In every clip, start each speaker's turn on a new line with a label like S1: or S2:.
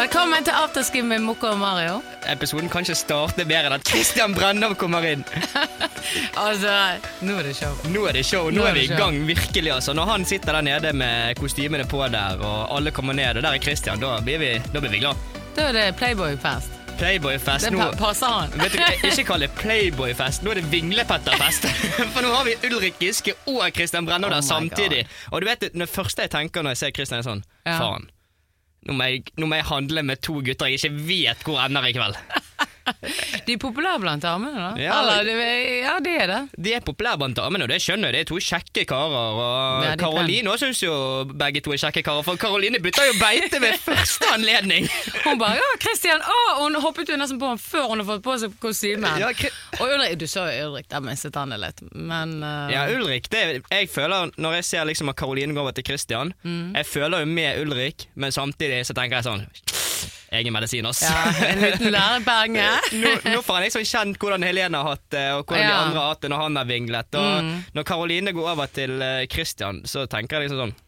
S1: Velkommen til afterski med Mokko og Mario.
S2: Episoden kan ikke starte bedre enn at Christian Brennov kommer inn.
S1: Altså, nå er det show.
S2: Nå er det show,
S1: Nå
S2: nå,
S1: er
S2: er vi
S1: det
S2: i
S1: show.
S2: gang, virkelig. altså. Når han sitter der nede med kostymene på der, og alle kommer ned, og der er Christian, da blir vi, da blir vi glad.
S1: Da er det Playboy-fest.
S2: Playboy-fest
S1: Det
S2: nå.
S1: pa passer han.
S2: Vet du, jeg- Ikke kall det Playboy-fest, nå er det Vinglepetterfest. For nå har vi Ulrik Giske og Christian Brennov
S1: Oh
S2: der
S1: my
S2: samtidig. Og du vet, det første jeg tenker når jeg ser Christian, er sånn
S1: Ja.
S2: Faen. Nå må, jeg, nå må jeg handle med to gutter jeg ikke vet hvor ender i kveld.
S1: De er populære blant damene, da.
S2: Ja,
S1: Eller, det, ja, det er det.
S2: De er populære blant damene, og det skjønner jeg. Det er to kjekke karer. Og
S1: Ja, de er
S2: Karoline òg syns jo begge to er kjekke karer, for Karoline bytter jo beite ved første anledning!
S1: Hun bare ja, Christian, å, hun hoppet jo nesten på ham før hun har fått på seg kostymen.
S2: Ja, Kri-
S1: Og Ulrik, du så jo Ulrik, der mistet han det litt, men eh,
S2: Ja, Ulrik, det jeg føler Når jeg ser liksom at Karoline går over til Christian
S1: Mm.
S2: Jeg føler jo med Ulrik, men samtidig så tenker jeg sånn Egen medisin, ass.
S1: ja, En liten lærebenge.
S2: nå, nå får han liksom kjent hvordan Helene har hatt det, og hvordan de
S1: Ja. Mm.
S2: andre har hatt det når han har vinglet. Og når Karoline går over til eh, Christian, så tenker jeg liksom sånn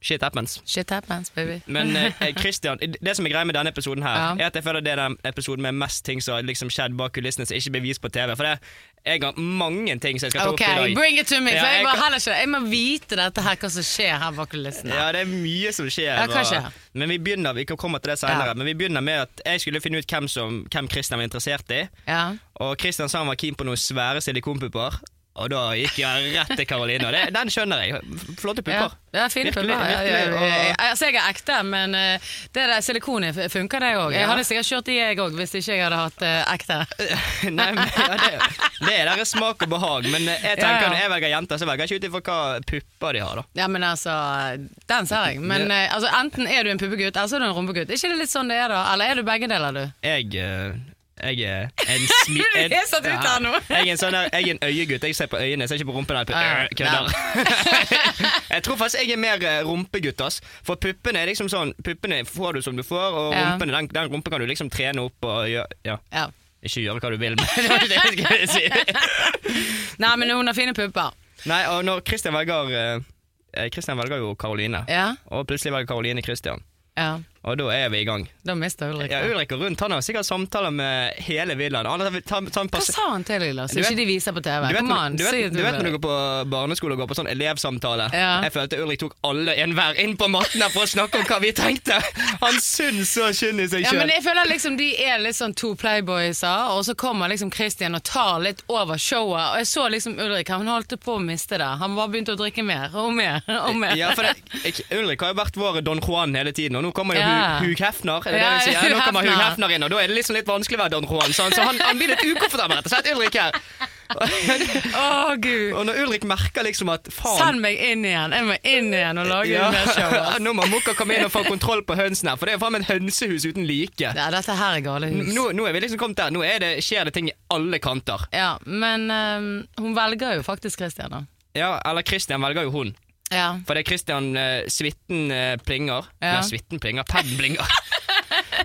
S2: Shit happens.
S1: Shit happens, baby.
S2: Men eh, Christian, det som er greia med denne episoden her,
S1: Ja.
S2: er at jeg føler det er den episoden med mest ting som har liksom skjedd bak kulissene som ikke blir vist på TV. For det, jeg har mange ting som jeg skal
S1: Ok,
S2: ta opp i dag.
S1: bring it to me.
S2: Ja,
S1: For jeg,
S2: jeg
S1: bare,
S2: kan-
S1: heller ikke, jeg må vite dette her, hva som skjer her bak kulissene.
S2: Ja, det er mye som skjer.
S1: Ja, hva skjer?
S2: og- Men vi begynner, vi kan komme til det senere,
S1: Ja.
S2: men vi begynner med at jeg skulle finne ut hvem, som, hvem Christian var interessert i.
S1: Ja.
S2: Og Christian sa han var keen på noen svære silikonpupper. Og da gikk jeg rett til Karoline. Og det, den skjønner jeg. Flotte pupper.
S1: Ja, ja fine
S2: Virkelig,
S1: pupper. Ja, ja,
S2: virkelig,
S1: ja,
S2: og-
S1: ja. Altså, jeg er ekte, men eh, det der silikonet f- funker, det òg. Jeg
S2: Ja.
S1: hadde sikkert kjørt i, jeg òg, hvis ikke jeg hadde hatt eh, ekte.
S2: Nei, men, ja, det, det er deres smak og behag, men eh, jeg
S1: Ja,
S2: tenker
S1: ja.
S2: når jeg velger jenter, så velger jeg ikke ut ifra hva pupper de har. da
S1: Ja, men altså, Den ser jeg. Men eh, altså, enten er du en puppegutt, eller så er du en rumpegutt. Er ikke det litt sånn det er, da? Eller er du begge deler, du?
S2: Jeg, eh, jeg er en smi...
S1: Du er
S2: en-
S1: satt ut
S2: Ja.
S1: her nå.
S2: Jeg er en sånn der, jeg er en øyegutt. Jeg ser på øynene, jeg ser ikke på rumpen. Jeg,
S1: Ja, ja.
S2: kødder. jeg tror faktisk jeg er mer eh, rumpegutt. ass For puppene er liksom sånn Puppene får du som du får, og
S1: Ja.
S2: rumpene, den, den rumpen kan du liksom trene opp og gjøre ja.
S1: Ja.
S2: Ikke gjøre hva du vil, men det var ikke det jeg skulle si.
S1: Nei, men hun har fine pupper.
S2: Nei, og når Christian velger eh, eh, Christian velger jo Karoline,
S1: Ja.
S2: og plutselig velger Karoline Christian.
S1: ja.
S2: Og da er vi i gang.
S1: Da mister Ulrik.
S2: Ja,
S1: det.
S2: Ulrik og Rundt han har sikkert samtaler med hele villaen. Han har tatt- tatt en
S1: Hva
S2: pass-
S1: sa han til deg, Lars?
S2: Du vet-
S1: Ikke de viser på TV.
S2: Du vet,
S1: Kom
S2: når-
S1: an,
S2: du,
S1: si at
S2: vet, du vet når du
S1: vil.
S2: går på barneskole og går på sånn elevsamtale.
S1: Ja.
S2: Jeg følte Ulrik tok alle enhver inn på matten her for å snakke om hva vi tenkte! Han syns så synd i seg
S1: Ja,
S2: sjøl.
S1: men jeg føler liksom De er litt sånn to playboyser, og så kommer liksom Christian og tar litt over showet. Og jeg så liksom Ulrik, han holdt på å miste det. Han bare begynte å drikke mer og mer. og mer.
S2: ja, for det, jeg, Ulrik har jo vært vår Don Juan hele tiden, og nå kommer jo
S1: Ja.
S2: Hugh- Hugh Hefner. Er det
S1: Ja,
S2: det vi sier?
S1: Hugh
S2: Nå kommer Hugh
S1: Hefner.
S2: Hefner inn, og da er det liksom litt vanskelig å være Don Juan. Så han, så han, han blir litt ukomfortabel, rett og slett, Ulrik her.
S1: Å, gud.
S2: Og når Ulrik merker liksom at faen
S1: Send meg inn igjen! Jeg må inn igjen og lage
S2: ja,
S1: mer show. ass.
S2: Nå må Mokka komme inn og få kontroll på hønsene her, for det er jo faen meg et hønsehus uten like.
S1: Ja, dette her er gale hus.
S2: Nå, nå er vi liksom kommet der. Nå er det, skjer det ting i alle kanter.
S1: Ja, men ehm, hun velger jo faktisk Christian, da.
S2: Ja, eller Christian velger jo hun.
S1: Ja.
S2: For det er Christian eh, Svitten eh, plinger.
S1: Ja.
S2: Nei, Svitten plinger, Padden plinger.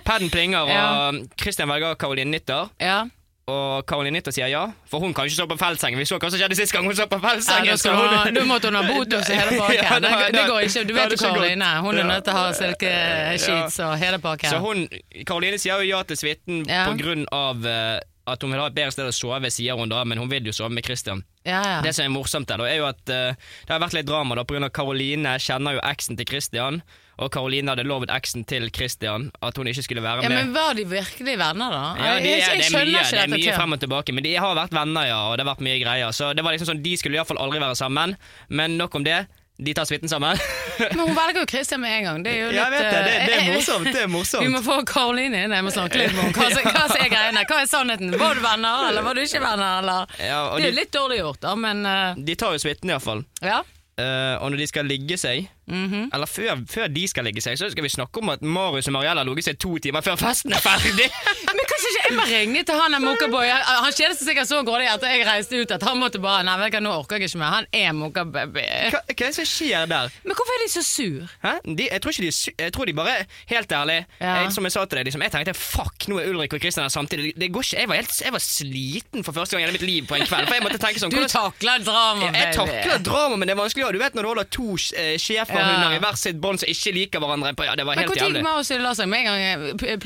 S2: Padden plinger,
S1: Ja.
S2: og Christian velger Karoline Nytter.
S1: ja.
S2: Og Karoline Nytter sier ja, for hun kan ikke stå på feltsengen. Vi så hva som skjedde sist gang hun så på
S1: Ja,
S2: feltsengen.
S1: da,
S2: så
S1: skal hun ha,
S2: hun-
S1: da måtte hun ha bot hos hele pakken.
S2: Ja,
S1: det,
S2: da-
S1: det
S2: da-
S1: går ikke. Du
S2: da
S1: vet jo
S2: hadde det ikke gått.
S1: Karoline. Hun er
S2: Ja.
S1: nødt til å ha silkesheets og hele pakken.
S2: Så hun, Karoline sier jo ja til Svitten
S1: Ja.
S2: på grunn av eh, at hun vil ha et bedre sted å sove, sier hun da, men hun vil jo sove med Christian.
S1: ja, ja.
S2: Det som er morsomt der, da, er jo at eh, det har vært litt drama da, på grunn av Karoline kjenner jo eksen til Christian, og Karoline hadde lovet eksen til Christian at hun ikke skulle være
S1: Ja,
S2: med.
S1: men Var de virkelig venner, da?
S2: Ja, det,
S1: jeg,
S2: er,
S1: jeg,
S2: det, er
S1: skjønner
S2: mye,
S1: ikke
S2: det er
S1: dette.
S2: mye
S1: til.
S2: frem og tilbake, men de har vært venner, ja, og det har vært mye greier. Så det var liksom sånn, De skulle iallfall aldri være sammen, men nok om det. De tar suiten sammen.
S1: Men hun velger jo Christian med en gang. Det er jo litt eh,
S2: Det er
S1: Vi må få Karoline inn. Jeg må snakke litt med henne. Hva, som- hva som er greiene? Hva er sannheten? Var du venner, eller var du ikke venner? Eller?
S2: Ja, og
S1: det er jo
S2: de-
S1: litt dårlig gjort, da, men eh,
S2: Eh, De tar jo suiten, iallfall.
S1: ja.
S2: Uh, og når de skal ligge seg, Eller før, før de skal legge seg, så skal vi snakke om at Marius og Mariella har ligget seg to timer før festen er ferdig!
S1: Men kanskje ikke jeg må ringe til han der mokkaboy. Han- Han kjedet seg sikkert så grådig etter jeg reiste ut at han måtte bare Nei, vet du hva, nå orker jeg ikke mer. Han er mokkababy.
S2: Hva, hva er det som skjer der?
S1: Men hvorfor er de så sur?
S2: Hæ? De, jeg, tror ikke de, er sy- jeg tror de bare Helt ærlig,
S1: Ja.
S2: jeg, som jeg sa til deg, liksom, jeg tenkte fuck, nå er Ulrik og Kristian her samtidig. Det går ikke, jeg, var helt, jeg var sliten for første gang i hele mitt liv på en kveld. For jeg måtte tenke sånn
S1: Du
S2: hvordan-
S1: takler drama,
S2: Jeg, jeg
S1: baby.
S2: takler drama, men det er vanskelig. Og du vet når du holder to eh, schæferhunder
S1: Ja.
S2: i hver sitt bånd som ikke liker hverandre. på- Ja, det var
S1: Men når
S2: helt jævlig.
S1: gikk Marius og la seg? Med en gang eh, P-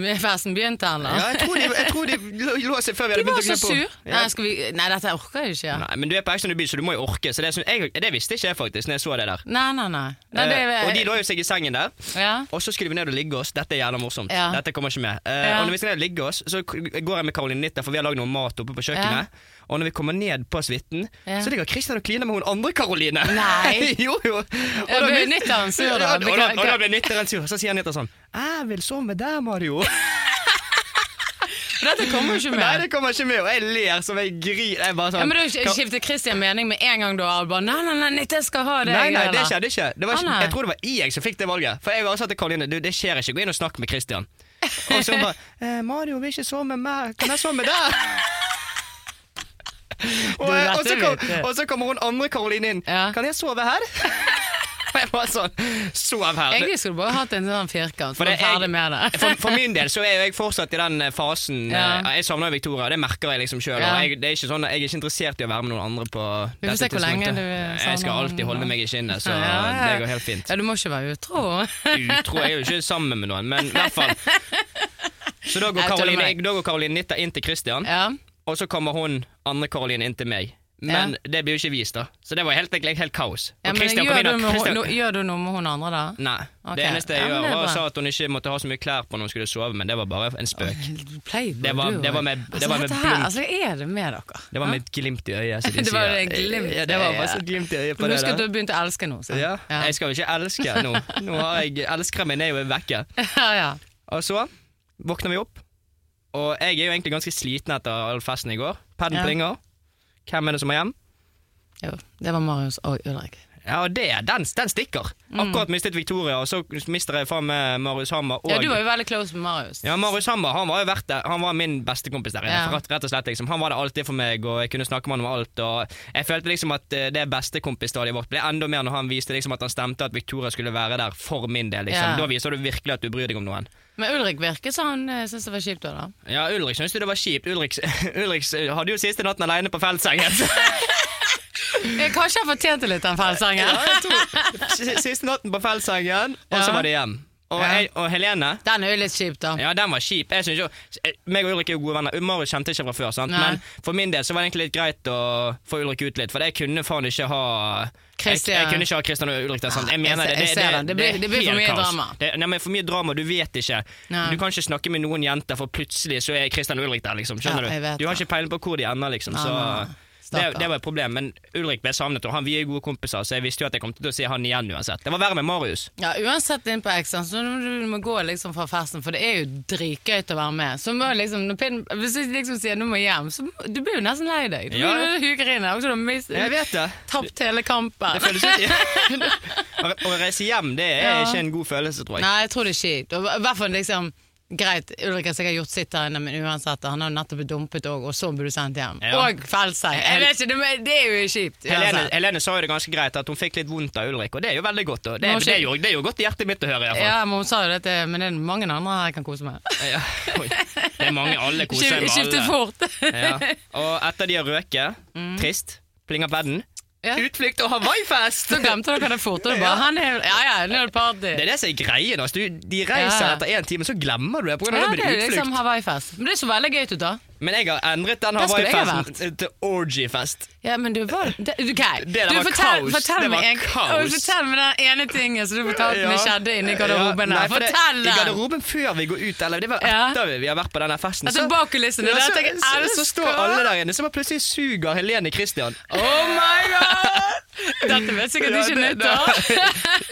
S1: Playboy-festen begynte, eller?
S2: Ja, jeg tror de, jeg tror de lå- lå seg før vi
S1: De
S2: hadde
S1: var
S2: begynt å
S1: så
S2: kle på.
S1: sur.
S2: Ja.
S1: Nei, skal vi... Nei, dette orker jeg ikke.
S2: Nei, men du er på Ex on the Beach, så du må jo orke. Så det, som- jeg, det visste ikke jeg faktisk når jeg så det der.
S1: Nei, nei, nei. nei det,
S2: Eh, og de lå jo seg i sengen der.
S1: ja.
S2: Og så skulle vi ned og ligge oss. Dette er jævla morsomt.
S1: Ja.
S2: Dette kommer ikke med. Eh,
S1: Ja.
S2: Og når vi skal ned og ligge oss, så k- går jeg med Karoline Nitta, for vi har lagd noe mat oppe på kjøkkenet. Og når vi kommer ned på suiten,
S1: Ja.
S2: så ligger Christian og kliner med hun andre Karoline.
S1: Nei.
S2: jo, jo. Og
S1: Ja,
S2: da
S1: ble
S2: blir-
S1: Nitteren sur, da?
S2: Ja, Og da, og da
S1: Hva-
S2: ble Nitteren sur. Så sier Nitta sånn Jeg vil sove der, Mario.
S1: Dette kommer jo ikke
S2: Nei,
S1: med.
S2: det kommer ikke med. Og jeg ler som jeg griner. Jeg bare sånn
S1: Ja, men Da
S2: Ka-
S1: skiftet Christian mening med en gang, da. og Bare, nei, nei, nei, Nitte skal ha det.
S2: Nei, nei, det
S1: eller?
S2: skjedde ikke. Det var
S1: Ah,
S2: ikke
S1: nei.
S2: jeg tror det var jeg som fikk det valget. For jeg var også til Karoline du, det skjer ikke. Gå inn og snakk med Christian. Og så bare eh, 'Mario vil ikke sove med meg. Kan jeg sove med deg?' Og,
S1: Du,
S2: eh,
S1: dette
S2: og, så kom,
S1: vet jeg.
S2: og så kommer hun andre Karoline inn.
S1: Ja.
S2: 'Kan jeg sove her?' Og jeg bare sånn Sov her.
S1: Egentlig skulle du bare hatt en sånn firkant.
S2: For
S1: For
S2: det-
S1: ferdig med det.
S2: For, for min del så er jo jeg fortsatt i den eh, fasen
S1: Ja.
S2: eh, Jeg savner jo Victoria, det merker jeg liksom sjøl.
S1: Ja.
S2: Jeg, det er ikke sånn, at jeg er ikke interessert i å være med noen andre på
S1: Vi får se hvor lenge du er
S2: Jeg skal
S1: sammen.
S2: alltid holde meg i skinnet, så
S1: Ja, ja.
S2: det går helt fint.
S1: Ja, du må ikke være utro.
S2: Utro jeg er jo ikke sammen med noen, men i hvert fall. Så da går
S1: Jeg tuller med
S2: Caroline,
S1: deg.
S2: da går Caroline Nitta inn til Christian,
S1: Ja.
S2: og så kommer hun andre Caroline inn til meg. Men det blir jo ikke vist, da. Så det var helt, egentlig helt kaos. Og
S1: Ja, men
S2: Christian kom
S1: gjør,
S2: inn,
S1: du
S2: og
S1: noe,
S2: Christian-
S1: no, gjør du noe med hun andre, da?
S2: Nei.
S1: Ok.
S2: Det eneste jeg
S1: Ja, men
S2: gjør,
S1: det er
S2: var å
S1: bra.
S2: sa at hun ikke måtte ha så mye klær på når hun skulle sove, men det var bare en spøk.
S1: Playboy,
S2: Det var-
S1: du,
S2: det var med-
S1: altså,
S2: det var med
S1: dette her,
S2: blunk.
S1: Altså, hva er det med dere?
S2: Det var med et glimt i øyet. som de
S1: Det var
S2: sier.
S1: et glimt
S2: ja, det var
S1: i
S2: bare så
S1: øyet.
S2: et glimt i øyet på
S1: For du
S2: det
S1: husker at du
S2: der.
S1: har begynt å elske noe? sant?
S2: Ja.
S1: Ja.
S2: Jeg skal jo ikke elske nå. Nå har jeg Elskeren min er jo vekke.
S1: ja, ja.
S2: Og så Altså, våkner vi opp, og jeg er jo egentlig ganske sliten etter all festen i går. Padden
S1: Ja.
S2: plinger. Hvem er det som er hjem?
S1: Jo, det var Marius og Ulrik.
S2: Ja, og det, den, den stikker.
S1: Mm.
S2: Akkurat mistet Victoria, og så mister jeg faen meg Marius Hammer. Og
S1: Ja, du var jo veldig close med Marius.
S2: Ja, Marius Hammer han var jo vært der. Han var min beste kompis der. inne,
S1: Ja.
S2: for Rett, rett og slett liksom. Han var der alltid for meg, og jeg kunne snakke med han om alt. Og jeg følte liksom at eh, det bestekompisstadiet vårt ble enda mer når han viste liksom at han stemte at Victoria skulle være der for min del. liksom.
S1: Ja.
S2: Da viser du virkelig at du bryr deg om noen.
S1: Men Ulrik virket som han eh, syntes det var kjipt. da.
S2: Ja, Ulrik syntes jo det var kjipt. Ulrik, Ulrik eh, hadde jo siste natten aleine på feltsengen.
S1: Eh, Kanskje han fortjente litt den feilsengen.
S2: Ja, jeg tror- S- siste natten på feltsengen, og så
S1: Ja.
S2: var det hjem. Og,
S1: Ja.
S2: jeg, og Helene
S1: Den er jo litt kjip, da.
S2: Ja, den var kjip. Jeg synes jo, eh, meg og Ulrik er jo gode venner. Marius kjente ikke fra før, sant?
S1: Nei.
S2: men for min del så var det egentlig litt greit å få Ulrik ut litt, for jeg kunne faen ikke ha jeg,
S1: Christian.
S2: jeg kunne ikke ha Christian og Ulrik der. sant? Jeg
S1: Nei,
S2: mener
S1: jeg
S2: det.
S1: ser- jeg ser det. Det blir-
S2: er
S1: det blir for
S2: helt
S1: mye
S2: kaos.
S1: drama.
S2: Det, nei, men For mye drama, du vet ikke.
S1: Nei.
S2: Du kan ikke snakke med noen jenter, for plutselig så er Christian og Ulrik der, liksom.
S1: Ja,
S2: Skjønner
S1: jeg vet
S2: du? Du har
S1: det.
S2: ikke peiling på hvor de ender, liksom.
S1: Nei, nei,
S2: Så
S1: nei.
S2: det,
S1: Stakkar.
S2: det var et problem. Men Ulrik ble savnet, og han, vi er gode kompiser, så jeg visste jo at jeg kom til å se han igjen uansett. Det var verre med Marius.
S1: Ja, Uansett inn på Exxon, så må du du må gå liksom fra festen, for det er jo dritgøy til å være med. Så må jeg liksom, når Pinn- Hvis jeg liksom sier du må hjem, så må- du blir jo nesten lei deg. Du
S2: Ja.
S1: blir jo huker inn her, og så har du mist-
S2: Jeg vet det.
S1: tapt hele kampen.
S2: Det føles ikke Å reise hjem, det er
S1: Ja.
S2: ikke en god følelse, tror jeg.
S1: Nei, jeg tror det er kjipt. Og I hvert fall liksom Greit, Ulrik har sikkert gjort sitt der inne, men uansett, han har jo nettopp blitt dumpet òg, og så blir du sendt hjem.
S2: Ja.
S1: Og Felseng. Jeg vet ikke, det, men det er altså- jo kjipt.
S2: Helene,
S1: uansett.
S2: Helene sa jo det ganske greit, at hun fikk litt vondt av Ulrik, og det er jo veldig godt. Og det,
S1: Nå
S2: det,
S1: skjer-
S2: er jo, det er jo godt i hjertet mitt å høre, iallfall.
S1: Ja, men hun sa jo dette, men det er mange andre her jeg kan kose meg.
S2: Ja. Oi, Det er mange alle koser seg med
S1: Skiftet
S2: alle.
S1: fort.
S2: Ja. Og etter de har røket, trist, plinger padden,
S1: Mm. Ja.
S2: utflukt og Hawaii-fest!
S1: Så glemte dere det fort. Og du bare, han er, ja, ja, nå er det party.
S2: Det er det som er greien. Altså. Du, de reiser
S1: Ja.
S2: etter én time, så glemmer du det. På grunn
S1: Ja,
S2: av det
S1: det
S2: blir
S1: er
S2: det utflukt.
S1: liksom Hawaii-fest. Men det så veldig gøy ut, da.
S2: Men jeg har endret den
S1: Der skulle jeg ha
S2: Hawaii-festen til orgy-fest.
S1: Ja, men du var det, du, ok.
S2: Det der
S1: du,
S2: var
S1: fortell,
S2: kaos.
S1: Fortell
S2: Det
S1: meg
S2: var
S1: en, Å,
S2: kaos.
S1: Fortell meg den ene tingen som du fortalte meg skjedde inni garderoben.
S2: Ja,
S1: her.
S2: nei, for det-
S1: fortell
S2: I
S1: den!
S2: garderoben før vi går ut, eller det var
S1: Ja.
S2: etter vi har vært på denne festen.
S1: Altså,
S2: så-
S1: bak kulissene,
S2: Ja,
S1: det
S2: så,
S1: tenker jeg,
S2: så,
S1: er det
S2: så
S1: så
S2: står
S1: skål?
S2: alle der inne, så bare plutselig suger Helene Christian.
S1: Oh my god! Dette vet sikkert
S2: Ja,
S1: ikke
S2: det-
S1: nytt av.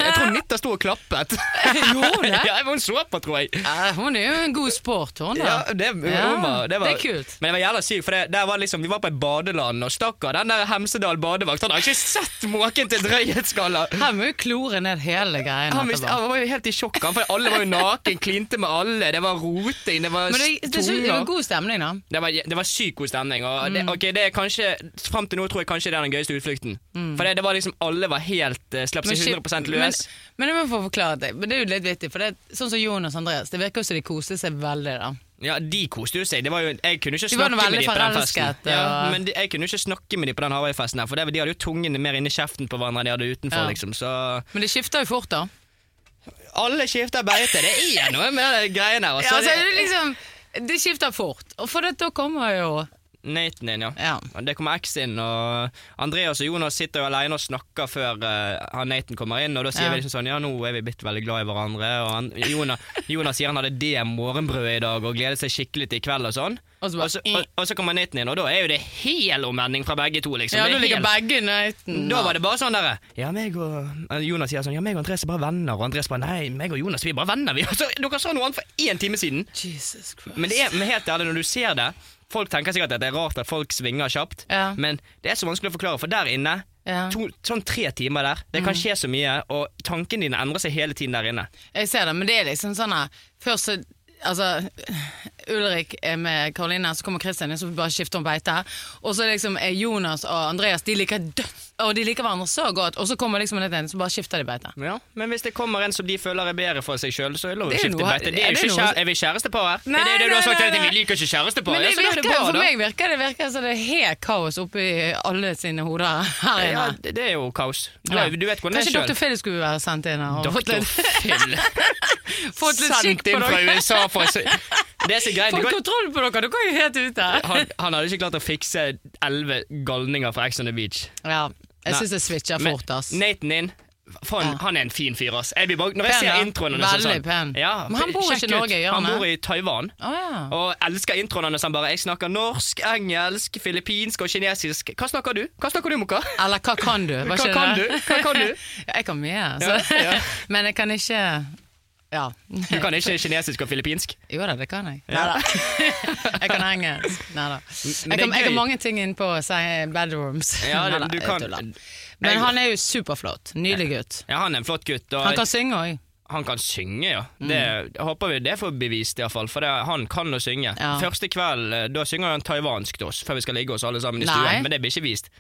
S2: Jeg tror Nitta sto og klappet.
S1: Gjorde hun det?
S2: Ja, hun så på, tror jeg.
S1: Ja, hun er jo en god sport, hun da.
S2: Ja, det, hun
S1: Ja,
S2: var, det, var,
S1: det er kult.
S2: Men det var jævla sykt, for det, der var liksom, vi var på et badeland, og stakkar, den der Hemsedal badevakt. Han har ikke sett maken til drøyhetsskala!
S1: Her må jo klore ned hele greien.
S2: Han, mis-
S1: etterpå.
S2: han var jo helt i sjokk, han, for alle var jo naken, klinte med alle. Det var roting, det var
S1: Men det, det, det, det var
S2: tunger.
S1: god stemning, da.
S2: Det var, det var sykt god stemning. Og
S1: Mm.
S2: det, ok, det er kanskje, Fram til nå tror jeg kanskje det er den gøyeste utflukten. For det, det var liksom, Alle var helt uh, slapp seg
S1: skil-
S2: 100
S1: Mm. men,
S2: løs.
S1: men jeg må få forklare det. Men det er jo litt vittig, for det er sånn som Jonas og Andreas. Det virker jo som de koste seg veldig, da.
S2: Ja, De koste jo seg. Det var jo, jeg kunne jo ikke
S1: De var
S2: snakke
S1: nå
S2: med
S1: veldig
S2: de på den festen.
S1: forelsket,
S2: Ja,
S1: og-
S2: men de, jeg kunne jo ikke snakke med de på den Hawaii-festen, her, for det, de hadde jo tungene mer inni kjeften på hverandre enn de hadde utenfor.
S1: Ja.
S2: liksom, så...
S1: Men det skifter jo fort, da.
S2: Alle skifter bergete. Det er noe med de greiene
S1: Ja,
S2: her. Altså,
S1: altså, det, liksom, det skifter fort. Og for det, da kommer jo
S2: Nathan inn, ja.
S1: Ja.
S2: Og Det kommer X inn, og Andreas og Jonas sitter jo alene og snakker før eh, han Nathan kommer inn, og da
S1: Ja.
S2: sier vi liksom sånn Ja, nå er vi blitt veldig glad i hverandre, og han, Jonas, Jonas sier han hadde det morgenbrødet i dag og gleder seg skikkelig til i kveld og sånn.
S1: Og så bare,
S2: og, så, og, og så kommer Nathan inn, og da er jo det hel omvending fra begge to, liksom.
S1: Ja, nå
S2: Det er
S1: ligger
S2: helt-
S1: begge i nøyten.
S2: da var det bare sånn derre Ja, meg og eh, Jonas sier sånn Ja, meg og Andres er bare venner. Og Andres bare Nei, meg og Jonas vi er bare venner, vi. Og så, dere sa noe annet for én time siden.
S1: Jesus Christ.
S2: Men det er, men helt ærlig, når du ser det Folk tenker sikkert at det er rart at folk svinger kjapt,
S1: Ja.
S2: men det er så vanskelig å forklare, for der inne
S1: Ja. Mm.
S2: to, Sånn tre timer der. Det kan skje så mye, og tankene dine endrer seg hele tiden der inne.
S1: Jeg ser det, men det er liksom sånn her Først så Altså, Ulrik er med Karoline, så kommer Kristian, så bare skifter hun beite. Og så liksom er Jonas og Andreas De liker dødt, og de liker hverandre så godt. Og så kommer liksom en liten, så bare skifter de beite.
S2: Ja. Men hvis det kommer en som de føler er bedre for seg sjøl, så er det lov å
S1: Det er
S2: skifte
S1: noe-
S2: beite. Det
S1: er
S2: er,
S1: det
S2: jo ikke
S1: noe-
S2: kjære, er vi kjærestepar her?
S1: Nei,
S2: er det det du
S1: nei,
S2: har sagt
S1: nei,
S2: hele tiden?
S1: nei.
S2: Vi liker ikke kjærestepar.
S1: Men det
S2: Ja, så da er
S1: virker,
S2: det bra,
S1: for
S2: da.
S1: meg virker det virker som det er helt kaos oppi alle sine hoder her
S2: Ja,
S1: inne.
S2: det, det er jo kaos. Du, er- du vet hvordan det er
S1: Kanskje
S2: sjøl.
S1: Dr. Phil skulle være sendt inn her og fått
S2: Dr.
S1: litt,
S2: Phil.
S1: fått litt skikk
S2: Sendt
S1: på
S2: inn fra E.
S1: dere.
S2: USA for å se- Det er så greit. det
S1: Fått
S2: går-
S1: kontroll på dere, dere er jo helt ute.
S2: Han, han hadde ikke klart å fikse elleve galninger fra Ex on the Beach.
S1: Ja, jeg
S2: Nei.
S1: syns det switcher
S2: Men
S1: fort, ass.
S2: Nathan inn Faen,
S1: Ja.
S2: han er en fin fyr, ass. Jeg blir bare, når jeg
S1: Pen,
S2: ser
S1: ja.
S2: introen hans
S1: Veldig
S2: og sånn-
S1: pen.
S2: Ja,
S1: Men han bor
S2: sjekk
S1: ikke i
S2: ut.
S1: Norge, gjør han
S2: Han
S1: det?
S2: bor i Taiwan.
S1: Å ja.
S2: Og elsker introen hans. Han bare 'Jeg snakker norsk, engelsk, filippinsk og kinesisk'. Hva snakker du? Hva snakker du, Moka?
S1: Eller hva kan du? Var
S2: Hva
S1: ikke
S2: kan
S1: det?
S2: du? Hva kan du?
S1: Ja, jeg kan mye, så.
S2: Ja, ja.
S1: men jeg kan ikke Ja.
S2: Du kan ikke kinesisk og filippinsk.
S1: Jo da, det kan jeg. Neida. jeg kan engelsk. Neida.
S2: men
S1: Jeg,
S2: det er
S1: kan, jeg
S2: gøy.
S1: har mange ting inn på si, bedrooms.
S2: Ja, det-
S1: Neida,
S2: du
S1: jeg
S2: kan-
S1: tuller. Men han er jo superflott. Nydelig gutt.
S2: Ja, Han er en flott gutt. Og
S1: Han kan synge òg.
S2: Han kan synge, ja.
S1: Mm.
S2: Det håper vi det får bevist, iallfall. For det, han kan å synge.
S1: Ja.
S2: Første kveld eh, da synger han taiwansk til oss, før vi skal ligge oss alle sammen i
S1: Nei.
S2: stuen. Men det blir ikke vist.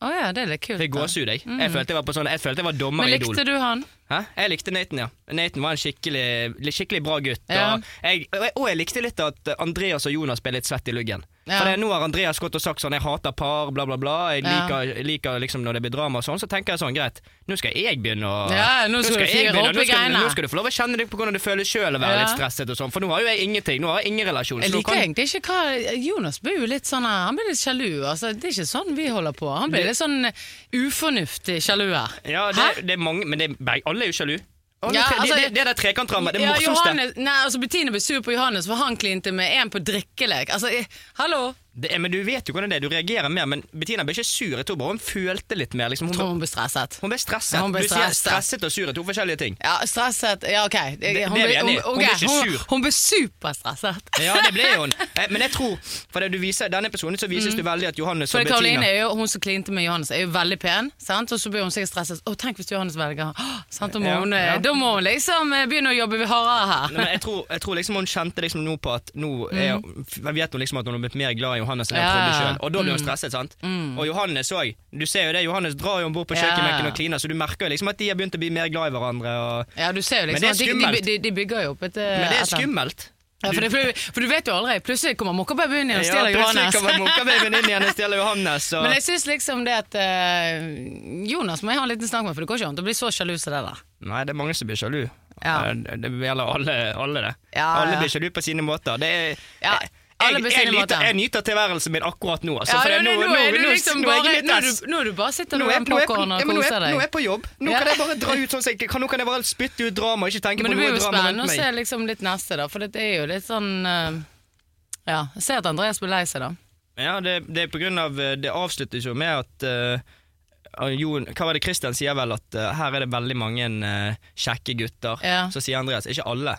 S1: Å ja, det er litt kult.
S2: Fikk
S1: da.
S2: gåsehud, jeg. Jeg følte jeg var på sånn Jeg følte jeg var dommer
S1: Mm. Men
S2: i Idol.
S1: likte du han?
S2: Hæ? Jeg likte Nathan, ja. Nathan var en skikkelig, skikkelig bra gutt.
S1: Ja.
S2: Og, jeg, og, jeg, og jeg likte litt at Andreas og Jonas ble litt svett i luggen.
S1: Ja.
S2: For det, nå har Andreas gått og sagt sånn 'jeg hater par', bla, bla, bla. Jeg
S1: Ja.
S2: liker, liker liksom når det blir drama og sånn. Så tenker jeg sånn, greit, nå skal jeg begynne å
S1: Ja, nå skal du fyre opp
S2: nå,
S1: i
S2: skal,
S1: greiene.
S2: nå skal du få lov å kjenne deg på hvordan du føler sjøl å være
S1: Ja.
S2: litt stresset og sånn. For nå har jo jeg ingenting. Nå har jeg ingen relasjon.
S1: Jeg
S2: så nå
S1: liker egentlig ikke hva Jonas blir jo litt sånn Han blir litt sjalu. Altså, det er ikke sånn vi holder på. Han blir litt sånn ufornuftig sjalu her.
S2: ja, det, det er mange, men det er, beg- alle er jo sjalu. Alle,
S1: Ja,
S2: tre-
S1: altså-
S2: det, det, det der trekantrammet, det
S1: Ja,
S2: morsomste.
S1: Johannes, nei, altså Bettine ble sur på Johannes, for han klinte med en på drikkelek. Altså, eh, hallo!
S2: Det er, men Du vet jo hvordan det er, du reagerer mer, men Bettina ble ikke sur. Jeg tror bare hun følte litt mer. Liksom. Hun,
S1: Tror hun ble stresset.
S2: ble- hun ble stresset.
S1: Ja, hun ble
S2: du sier
S1: stresset.
S2: stresset og sur er to forskjellige ting.
S1: Ja, stresset Ja, OK. Jeg-
S2: det
S1: Hun
S2: er vi
S1: ble,
S2: enige i. Hun ble
S1: ok,
S2: ikke
S1: hun,
S2: sur.
S1: hun ble superstresset.
S2: Ja, det ble hun. Eh, Men jeg tror, for det du viser, denne episoden så vises det veldig at Johannes
S1: Mm. For
S2: og
S1: Karoline
S2: Bettina
S1: er jo, hun som klinte med Johannes, er jo veldig pen, sant? og så blir hun sikkert stresset. Å, tenk hvis Johannes velger Åh, sant? Da, må
S2: Ja,
S1: hun, eh,
S2: ja.
S1: da må hun liksom eh, begynne å jobbe hardere her.
S2: Nei, men jeg, tror, jeg tror liksom hun kjente liksom nå på at nå er, jeg vet hun liksom at hun har blitt mer glad i Johannes enn hun
S1: Mm. Ja,
S2: trodde
S1: ja. Mm.
S2: sjøl. Og da blir hun stresset, sant. Og Johannes òg. Du ser jo det, Johannes drar jo om bord på
S1: Ja.
S2: kjøkkenbenken og kliner, så du merker jo liksom at de har begynt å bli mer glad i hverandre. Og...
S1: Ja, du ser jo
S2: Men
S1: liksom
S2: det er
S1: at de, de,
S2: skummelt.
S1: de, de bygger jo opp et eh,
S2: Men
S1: et
S2: det er
S1: eller annet.
S2: skummelt.
S1: Ja, for, det, for, for du vet jo aldri. Plutselig kommer mokkababyen og
S2: Ja,
S1: stjeler
S2: plutselig
S1: Johannes.
S2: kommer mokkababyen inn igjen og stjeler Johannes. Og...
S1: Men jeg syns liksom det at eh, Jonas må jeg ha en liten snakk med, for det går ikke an å bli så sjalu som det der.
S2: Nei, det er mange som blir sjalu.
S1: Ja.
S2: Eh, Det det gjelder alle, alle det.
S1: Ja,
S2: alle
S1: ja.
S2: blir sjalu på sine måter. Det er,
S1: Ja,
S2: jeg,
S1: alle på sine
S2: jeg, nyter,
S1: måter.
S2: jeg nyter tilværelsen min akkurat nå. Altså, for det-
S1: nå, er du liksom
S2: nå er jeg
S1: bare
S2: litt
S1: Nå, er
S2: ass.
S1: du, nå er du bare sitter
S2: Nå
S1: med
S2: er-
S1: den
S2: nå er jeg på-
S1: popcornen
S2: ja,
S1: og
S2: men nå er-
S1: koser
S2: Nå er
S1: deg.
S2: jeg på jobb. Nå
S1: Ja.
S2: kan jeg bare dra ut sånn som jeg kan. Nå kan jeg bare spytte ut drama og ikke tenke
S1: Men det
S2: på
S1: blir
S2: noe
S1: jo
S2: drama
S1: spennende å
S2: rundt
S1: se
S2: meg.
S1: liksom litt neste, da. For det er jo litt sånn eh, Ja. Jeg ser at Andreas blir lei seg, da.
S2: Ja, det, det er på grunn av eh, Det avsluttes jo med at eh, eh, Jon, hva var det Christian sier vel at eh, her er det veldig mange eh, kjekke gutter.
S1: Ja.
S2: Så sier Andreas ikke alle.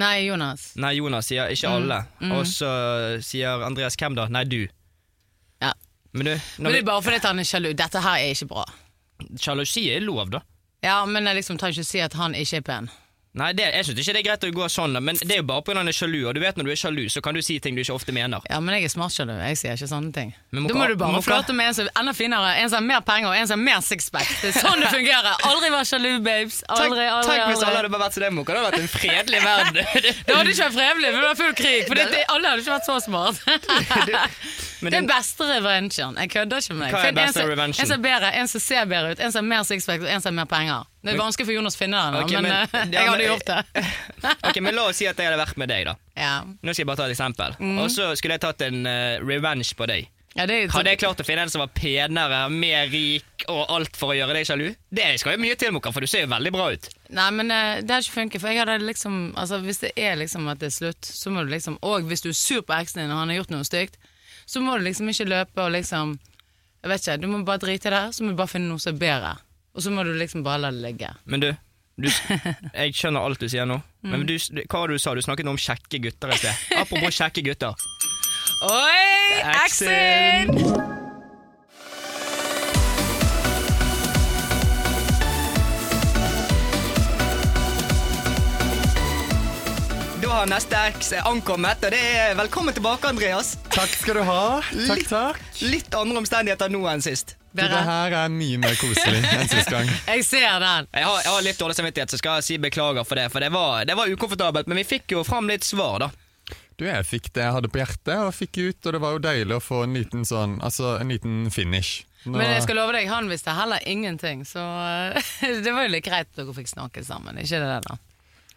S1: Nei, Jonas.
S2: Nei,
S1: Mm,
S2: Jonas sier ikke alle. Og så sier Andreas hvem da? Nei, du.
S1: Ja.
S2: Men du,
S1: Men
S2: når
S1: det er bare fordi at han er sjalu. Dette her er ikke bra.
S2: vi, sjalusi er lov, da.
S1: Ja, men jeg liksom trenger ikke si at han ikke er pen.
S2: Nei, det, jeg syns ikke det er greit å gå sånn, da, men det er jo bare pga. han er sjalu. Og du vet når du er sjalu, så kan du si ting du ikke ofte mener.
S1: Ja, men jeg er smart, sjalu. Jeg sier ikke sånne ting.
S2: Men må
S1: da
S2: ikke-
S1: må du bare
S2: må ikke-
S1: flørte med en som er enda finere, en som har mer penger og en som har mer sixpack. Det er sånn det fungerer. Aldri vær sjalu, babes. Aldri,
S2: Tenk-
S1: aldri,
S2: tenk hvis alle
S1: aldri.
S2: hadde bare vært som deg, Moka. Det hadde vært en fredelig verden.
S1: Det hadde ikke vært frevelig, for det var full krig. For det, alle hadde ikke vært så smart.
S2: Men
S1: det
S2: den-
S1: er beste revengen. Jeg kødder ikke med deg.
S2: Hva er
S1: For en
S2: beste
S1: som-
S2: revengen?
S1: En som er bedre, en som ser bedre ut, en som har mer sixpack og en som har mer penger. Det er vanskelig for Jonas å finne den, da,
S2: Ok,
S1: men,
S2: men-
S1: eh,
S2: ja,
S1: jeg
S2: men-
S1: hadde gjort det.
S2: Ok, men La oss si at jeg hadde vært med deg. da
S1: Ja,
S2: Nå skal jeg bare ta et eksempel. Og så skulle jeg tatt en eh, revenge på deg.
S1: ja det er jo
S2: Hadde jeg klart å finne en som var penere, mer rik og alt for å gjøre deg sjalu? Det skal jo mye til, Moka, for du ser jo veldig bra ut.
S1: Nei, men eh, det har ikke funket, for jeg hadde liksom Altså, hvis det er liksom at det er slutt, så må du liksom Og hvis du er sur på eksen din og han har gjort noe stygt, så må du liksom ikke løpe og liksom Jeg vet ikke, du må bare drite i det, så må du bare finne noe som er bedre. Og så må du liksom bare la det ligge.
S2: Men du, du jeg skjønner alt du sier nå. Men du, du- hva var det du sa du? snakket nå om kjekke gutter i sted. Apropos kjekke gutter.
S1: Oi,
S2: Eksen!
S1: eksen!
S2: Da har neste X ankommet, og det er velkommen tilbake, Andreas.
S3: Takk skal du ha. Takk,
S2: Litt-
S3: takk.
S2: Litt andre omstendigheter nå enn sist.
S3: Du, det
S1: Dere,
S3: her er mye mer koselig enn sist gang.
S1: jeg ser den.
S2: Jeg har, jeg har litt dårlig samvittighet, så skal jeg si beklager for det. For det var, det var ukomfortabelt, men vi fikk jo fram litt svar, da.
S3: Du, jeg fikk det jeg hadde på hjertet, og fikk ut, og det var jo deilig å få en liten sånn, altså en liten finish. Nå-
S1: Men jeg skal love deg, han visste heller ingenting, så eh, det var jo litt greit at dere fikk snakke sammen. Ikke det, da?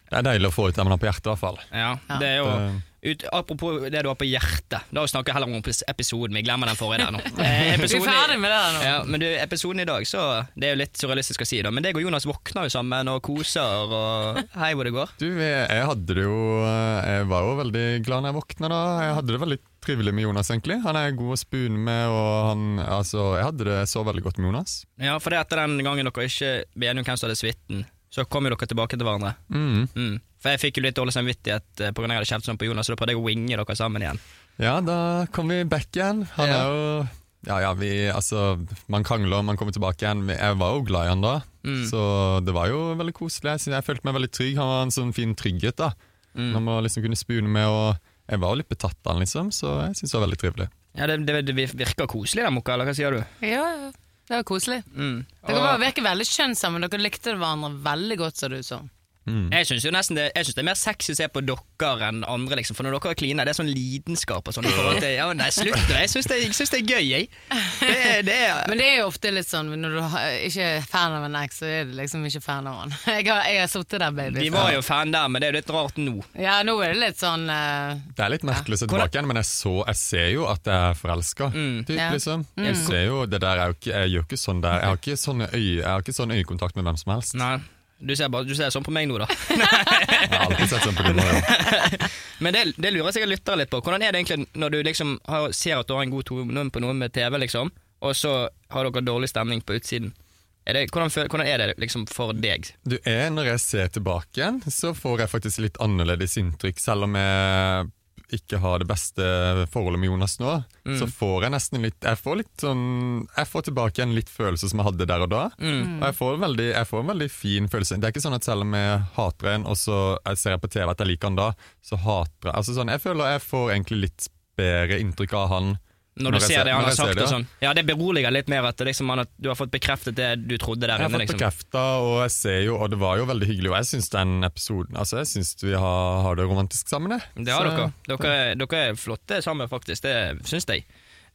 S3: Det er deilig å få ut det man har på hjertet, i hvert fall.
S2: Ja,
S1: Ja.
S2: det er jo ut, Apropos det du har på hjertet. Da snakker jeg heller om epis- episoden. Vi glemmer den forrige der nå. Eh,
S1: Vi er
S2: episoden i-
S1: ferdig med det der nå.
S2: Ja, men du, episoden i dag, så Det er jo litt surrealistisk å si, da. Men deg og Jonas våkner jo sammen og koser og Hei, hvor det går.
S3: Du, jeg jeg hadde det jo Jeg var jo veldig glad når jeg våkna da. Jeg hadde det veldig trivelig med Jonas, egentlig. Han er god å spune med, og han Altså, jeg hadde det så veldig godt med Jonas.
S2: Ja, for det etter den gangen dere ikke ble enige om hvem som hadde suiten, så kom jo dere tilbake til hverandre.
S3: Mm.
S2: Mm. For jeg fikk jo litt dårlig samvittighet eh, på grunn av at jeg hadde kjeftet sånn på Jonas, så da prøvde jeg å winge dere sammen igjen.
S3: Ja, da kom vi back igjen. Han
S2: Ja.
S3: er jo Ja ja, vi Altså, man krangler, man kommer tilbake igjen. Jeg var jo glad i han da, så det var jo veldig koselig. Jeg, jeg følte meg veldig trygg. Han var en sånn fin trygghet, da. Man må liksom kunne spune med, og jeg var jo litt betatt av han, liksom, så jeg syns det var veldig trivelig.
S2: Ja, det, det, det virker koselig, da, Mokka, eller hva sier du?
S1: Ja, ja. Det var koselig.
S2: Mm.
S1: Dere
S2: Og-
S1: bare virker veldig skjønne sammen. Dere likte hverandre veldig godt, så det ut som.
S3: Mm.
S2: Jeg syns jo nesten det, jeg synes det er mer sexy å se på dere enn andre, liksom. For når dere kliner, det er sånn lidenskap og sånn. i forhold til- Ja, nei, slutt nå. Jeg syns det, jeg synes det er gøy, jeg. Det, er- det er
S1: Men det er jo ofte litt sånn når du har- ikke er fan av en eks, så er du liksom ikke fan av han. Jeg har, jeg har sittet der, baby.
S2: Vi var jo fan der, men det er jo litt rart nå.
S1: Ja, nå er det litt sånn eh,
S3: Det er litt merkelig å se tilbake igjen, men jeg, så, jeg ser jo at jeg er forelska.
S1: Ja.
S3: Liksom. Jeg ser jo det der er jo ikke, Jeg gjør ikke sånn der. Jeg har ikke, sånne øye, jeg har ikke sånn øyekontakt med hvem som helst.
S2: Nei. Du ser, bare, du ser sånn på meg nå, da.
S3: Jeg har alltid sett sånn på din måte.
S2: Men det, det lurer jeg sikkert lyttere litt på. Hvordan er det egentlig når du liksom har, ser at du har en god tone på noe med TV, liksom, og så har dere dårlig stemning på utsiden? Er det, hvordan, føl- hvordan er det liksom for deg?
S3: Du er, Når jeg ser tilbake igjen, så får jeg faktisk litt annerledes inntrykk. Selv om jeg ikke har det beste forholdet med Jonas nå, så får jeg nesten litt Jeg får litt sånn Jeg får tilbake igjen litt følelser som jeg hadde der og da. Og jeg får, en veldig, jeg får en veldig fin følelse. Det er ikke sånn at selv om jeg hater en, og så jeg ser jeg på TV at jeg liker han da, så hater jeg Altså sånn, Jeg føler jeg får egentlig litt bedre inntrykk av han.
S2: Når du
S3: jeg
S2: ser det han har
S3: når jeg ser
S2: sagt
S3: det,
S2: og
S3: ja.
S2: sånn. Ja, det beroliger litt mer at, det liksom, han, at du har fått bekreftet det du trodde der
S3: Jeg har
S2: inne.
S3: fått
S2: liksom.
S3: bekrefta, og jeg ser jo, og det var jo veldig hyggelig. Og jeg syns den episoden Altså, jeg syns vi har, har det romantisk sammen, jeg.
S2: Det har
S3: Så-
S2: dere. Dere, dere er flotte sammen, faktisk. Det syns jeg.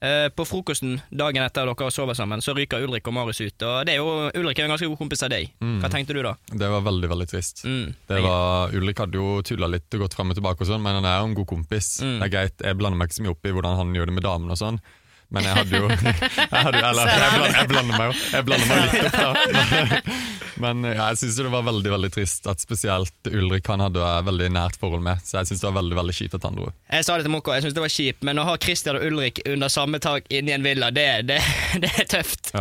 S2: Eh, På frokosten dagen etter dere sover sammen, så ryker Ulrik og Marius ut. Og det er jo, Ulrik er jo en ganske god kompis av deg.
S3: Mm.
S2: Hva tenkte du da?
S3: Det var veldig, veldig trist.
S2: Mm.
S3: Det var, Ulrik hadde jo tulla litt og gått fram og tilbake, og sånn, men han er jo en god kompis.
S2: Mm.
S3: Det er greit, Jeg blander meg ikke så mye opp i hvordan han gjør det med damene og sånn. Men jeg hadde jo jeg hadde, jo- Eller, jeg blander, jeg blander meg jo jeg blander meg litt opp, da. Men, men ja, jeg syns det var veldig veldig trist at spesielt Ulrik han hadde jo et veldig nært forhold med. Så jeg syns det var veldig veldig kjipt at han dro.
S2: Jeg sa det til Mokko, jeg syns det var kjipt, men å ha Christian og Ulrik under samme tak inni en villa, det, det, det er tøft.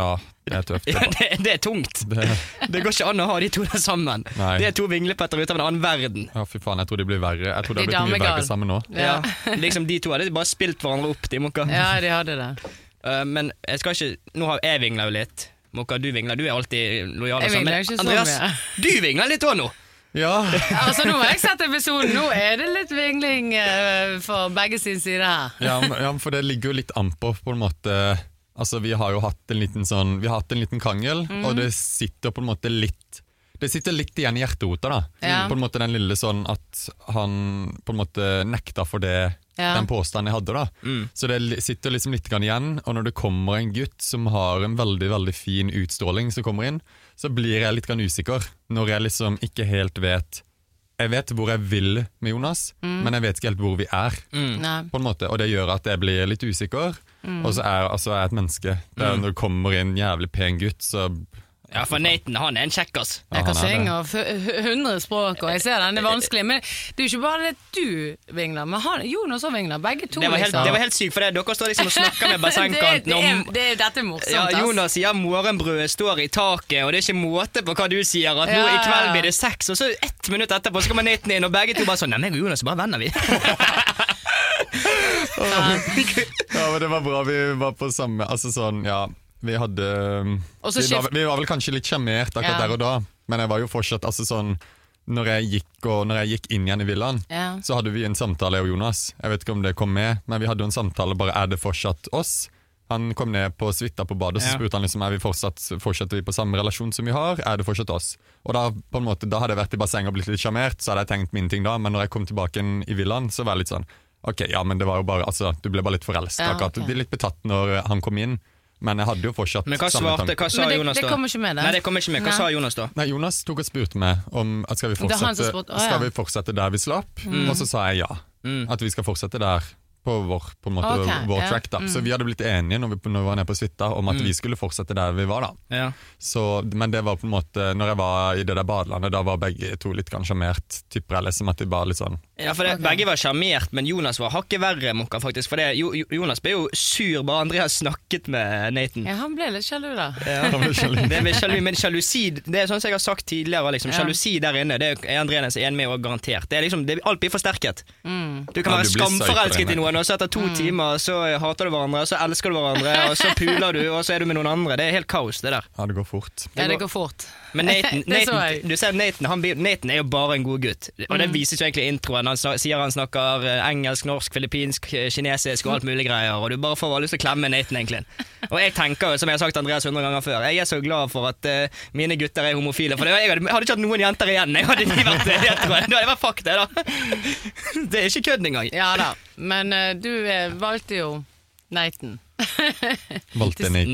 S3: Ja, det er tøft.
S2: Ja, det, det er tungt.
S3: Det,
S2: Det går ikke an å ha de to der sammen.
S3: Nei.
S2: Det er to vinglepetter ut av en annen verden.
S3: Ja, fy faen, jeg tror de blir verre. Jeg tror de
S1: De
S3: har blitt mye
S1: damegal.
S3: verre sammen nå.
S1: Ja.
S2: Liksom De to hadde bare spilt hverandre opp, de Mokka.
S1: Ja, de hadde det.
S2: Eh, men jeg skal ikke Nå har jeg vingla jo litt. Mokka, du vingler. Du er alltid lojal. og
S1: Jeg
S2: sånn,
S1: vingler
S2: men
S1: ikke så
S2: Andreas,
S1: mye.
S2: du vingler litt òg nå!
S3: Ja,
S1: Altså, nå har jeg sett episoden. Nå er det litt vingling eh, for begge sin side her.
S3: ja, men- ja, men for det ligger jo litt an på, på en måte Altså, vi har jo hatt en liten sånn Vi har hatt en liten krangel,
S1: Mhm.
S3: og det sitter på en måte litt Det sitter litt igjen i hjerterota, da.
S1: Ja.
S3: På en måte den lille sånn at han på en måte nekta for det
S1: Ja. Mm.
S3: den påstanden jeg hadde, da. Så det li- sitter liksom litt grann igjen. Og når det kommer en gutt som har en veldig veldig fin utstråling, som kommer inn, så blir jeg litt grann usikker når jeg liksom ikke helt vet Jeg vet hvor jeg vil med Jonas,
S1: Mm.
S3: men jeg vet ikke helt hvor vi er
S2: Mm.
S1: Nei.
S3: på en måte, og det gjør at jeg blir litt usikker. Og så er altså, jeg er et menneske. Det er Når det kommer inn en jævlig pen gutt, så
S2: Ja, for Nathan han er en kjekkas.
S3: Ja,
S1: Jeg kan
S3: han er det.
S1: synge og f- hundre språk, og jeg ser den, det er vanskelig. Men det er jo ikke bare det at du vingler, men han, Jonas òg vingler. Begge to.
S2: Det var helt,
S1: liksom.
S2: det var helt sykt, for det. dere står liksom og snakker
S1: det,
S2: med bassengkanten
S1: det,
S2: om
S1: er, det er dette er morsomt,
S2: ja,
S1: ass.
S2: Jonas sier morgenbrødet står i taket, og det er ikke måte på hva du sier. At nå
S1: Ja,
S2: i
S1: ja,
S2: kveld
S1: ja.
S2: blir det sex, og så ett minutt etterpå så kommer Nathan inn, og begge to bare sånn Nei, meg og Jonas er bare venner, vi.
S3: Ja, men det var bra vi var på samme Altså sånn, ja. Vi hadde um,
S1: Og
S3: vi
S1: så
S3: var,
S1: skift-
S3: vi var vel kanskje litt sjarmert akkurat
S1: Ja.
S3: der og da, men jeg var jo fortsatt altså sånn når jeg, gikk, og når jeg gikk inn igjen i villaen,
S1: Ja.
S3: så hadde vi en samtale, jeg og Jonas. Jeg vet ikke om det kom med, men vi hadde jo en samtale bare er det fortsatt oss. Han kom ned på suita på badet og så
S2: Ja.
S3: spurte han liksom, er vi fortsatt, fortsetter vi på samme relasjon som vi har. Er det fortsatt oss? Og Da på en måte, da hadde jeg vært i bassenget og blitt litt sjarmert, så hadde jeg tenkt mine ting da, men når jeg kom tilbake inn i villaen, så var jeg litt sånn Ok, ja, men det var jo bare altså, Du ble bare litt forelsket.
S1: Ja,
S3: akkurat.
S1: ok.
S3: Du blir litt betatt når han kom inn, men jeg hadde jo fortsatt
S2: Men hva
S3: samme
S2: svarte,
S3: tanke.
S2: hva sa
S1: Men det-
S2: Jonas da?
S1: det kommer ikke med, det.
S2: Nei, det kommer ikke med. Hva
S1: Nei.
S2: sa Jonas da?
S3: Nei, Jonas tok og spurte meg om at skal vi
S1: Det er han som
S3: fortsette,
S1: spurte, å, ja.
S3: skal vi fortsette der vi slapp,
S2: Mm.
S3: og så sa jeg ja. At vi skal fortsette der på vår, på en måte,
S1: Ok,
S3: vår
S1: ja. Mm.
S3: track. da. Så vi hadde blitt enige når vi, når vi var nede på suita om at
S2: Mm.
S3: vi skulle fortsette der vi var. da.
S2: Ja.
S3: Så, men det var på en måte, når jeg var i det der badelandet, da var begge to litt grann sjarmert. Tipper jeg liksom at de bare litt sånn
S2: Ja, for det, Begge var sjarmert, men Jonas var hakket verre. Mokka, faktisk For det, jo, Jo- Jonas ble jo sur bare Andreas snakket med Nathan.
S1: Ja, han ble litt sjalu, da.
S3: han ble sjalu.
S2: Det med sjalu, men sjalusi Det er sånn som jeg har sagt tidligere. Liksom,
S1: Ja.
S2: Sjalusi der inne Det er Andreas enig med og garantert. Det er liksom, det, alt blir forsterket.
S1: Mm.
S2: Du kan
S3: Ja,
S2: være
S3: du blir psycho
S2: skamforelsket
S3: der
S2: i noen, og så etter to timer så hater du hverandre, og så elsker du hverandre, og så puler du, og så er du med noen andre. Det er helt kaos, det der.
S3: Ja, det går fort.
S1: Ja, det går fort.
S2: Men Nathan,
S1: Det så jeg. Mm.
S2: Nathan, du ser Nathan, han, blir- Nathan er jo bare en god gutt. Og det vises jo egentlig i introen. Han snak- sier han snakker eh, engelsk, norsk, filippinsk, eh, kinesisk og alt mulig greier. Og du bare får bare lyst til å klemme Nathan, egentlig. Og jeg tenker jo, som jeg har sagt til Andreas hundre ganger før, jeg er så glad for at eh, mine gutter er homofile. For det, jeg hadde, jeg hadde ikke hatt noen jenter igjen. Jeg hadde de vært hetero. Da hadde jeg vært fuck det, da. Det er ikke kødd engang.
S1: Ja da. Men eh, du eh, valgte jo Nathan.
S3: Valgte en i-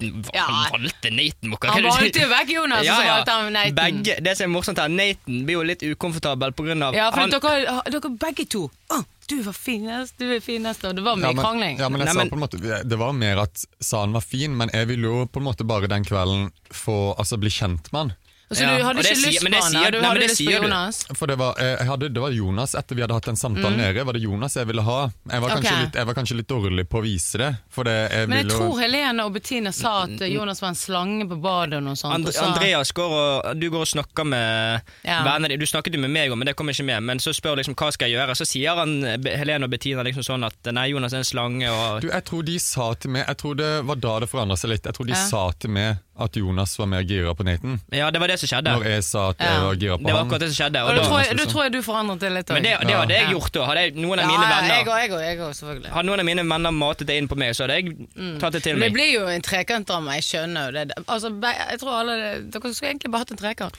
S2: Nathan
S1: Ja.
S2: Han valgte Nathan, Mokka.
S1: Han
S2: Hva er det du
S1: valgte
S2: sier?
S1: jo vekk Jonas, og altså, så valgte han Nathan.
S2: Begge, det som er morsomt her, Nathan blir jo litt ukomfortabel på grunn av
S1: Ja, for
S2: han-
S1: dere, dere begge to. Å, du var finest, du er finest, og det var mye
S3: men,
S1: krangling.
S3: ja, men jeg
S2: Nei,
S3: sa
S2: men-
S3: på en måte Det var mer at sa han var fin, men jeg ville jo på en måte bare den kvelden få, altså, bli kjent med han.
S1: Så
S2: Ja,
S1: du
S2: og
S1: hadde
S2: det
S1: ikke
S2: sier-
S1: lyst
S2: men
S1: på
S2: det
S1: han?
S2: sier-
S1: ja? Du
S2: nei, men
S1: hadde
S2: det
S1: lyst på
S2: sier du.
S1: Jonas?
S3: For det var, eh, jeg hadde, det var Jonas etter vi hadde hatt den samtalen nede. Var det Jonas jeg ville ha? Jeg var, kanskje
S1: Ok.
S3: litt, jeg var kanskje litt dårlig på å vise det. For det, jeg
S1: Men jeg
S3: ville jo-
S1: tror Helene og Bettina sa at eh, Jonas var en slange på badet og noe sånt.
S2: And
S1: og så-
S2: Andreas går og, du går og snakker med
S1: Ja.
S2: vennene dine. Du snakket jo med meg òg, men det kom ikke med. Men så spør liksom hva skal jeg gjøre, så sier han eh, Be- Helene og Bettina liksom sånn at nei, Jonas er en slange og
S3: du, jeg tror de sa til meg Jeg tror det var da det forandra seg litt. Jeg tror de
S1: Ja.
S3: sa til meg at Jonas var mer gira på Nathan.
S2: Ja, det var det som skjedde.
S3: Når jeg sa at jeg
S1: Ja.
S3: var gira på
S2: Det var
S3: han.
S2: akkurat det som skjedde.
S1: Og
S2: Og
S1: da
S2: da,
S1: tror jeg, da tror jeg du forandret det litt òg.
S2: sånn. men det, det hadde jeg
S1: Ja.
S2: gjort da. Hadde jeg,
S1: ja,
S2: noen av mine
S1: ja, jeg
S2: venner
S1: òg, jeg òg, jeg òg, selvfølgelig.
S2: Hadde noen av mine venner matet det inn på meg, så hadde jeg tatt det til
S1: Mm. Men det
S2: meg.
S1: blir jo en trekantdrama, jeg skjønner jo det. Altså, be- jeg tror alle, Dere skulle egentlig bare hatt en trekant.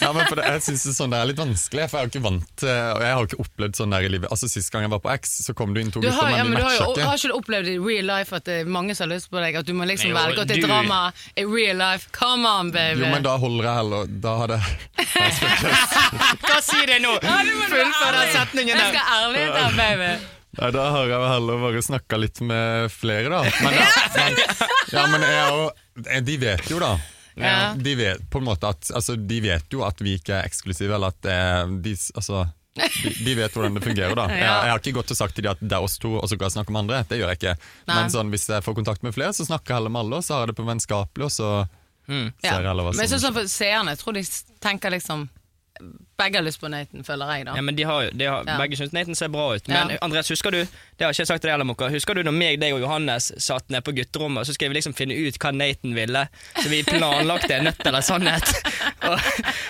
S3: Ja, men for det, jeg synes det, er sånn, det er litt vanskelig, for jeg er jo ikke vant til Og jeg har jo ikke opplevd sånn der i livet. Altså Sist gang jeg var på X, så kom det inn to
S1: Du har,
S3: gutter,
S1: ja,
S3: men
S1: men
S3: de
S1: du har jo
S3: matcha ikke.
S1: har ikke du opplevd i real life at det er mange som har lyst på deg, at du må liksom
S2: Jo,
S1: velge at det
S2: du-
S1: er drama i real life. Come on, baby!
S3: Jo, men da holder jeg heller Da hadde jeg
S2: Hva sier det nå?
S1: Ja, du må være
S2: Fullfør den
S1: ærlig.
S2: setningen
S1: Jeg
S2: der.
S1: skal ha ærlighet her, baby.
S3: Nei, da har jeg vel heller bare snakka litt med flere, da. Men, men, ja, men jeg er jo, eh, de vet jo, da.
S1: Ja.
S3: De, vet, på en måte at, altså, de vet jo at vi ikke er eksklusive, eller at eh, de, s- altså, de, de vet hvordan det fungerer, da. Jeg, jeg har ikke gått og sagt til de at det er oss to, og så kan jeg snakke med andre. Det gjør jeg ikke.
S1: Nei.
S3: Men sånn, hvis jeg får kontakt med flere, så snakker jeg heller med alle, og så har jeg det på vennskapelig, og så ser jeg
S1: Mm. Ja.
S3: heller hva
S1: Men
S3: som
S1: sånn som for seerne, jeg tror de s- tenker liksom Begge har lyst på Nathan, føler jeg, da.
S2: Ja, men de har, jo- de har,
S1: Ja.
S2: Begge syns Nathan ser bra ut. Men
S1: Ja.
S2: Andreas, husker du Det har ikke jeg sagt til deg heller, Mokka. Husker du når meg, deg og Johannes satt nede på gutterommet, så skulle vi liksom finne ut hva Nathan ville? Så vi planlagte nødt eller sannhet. Og,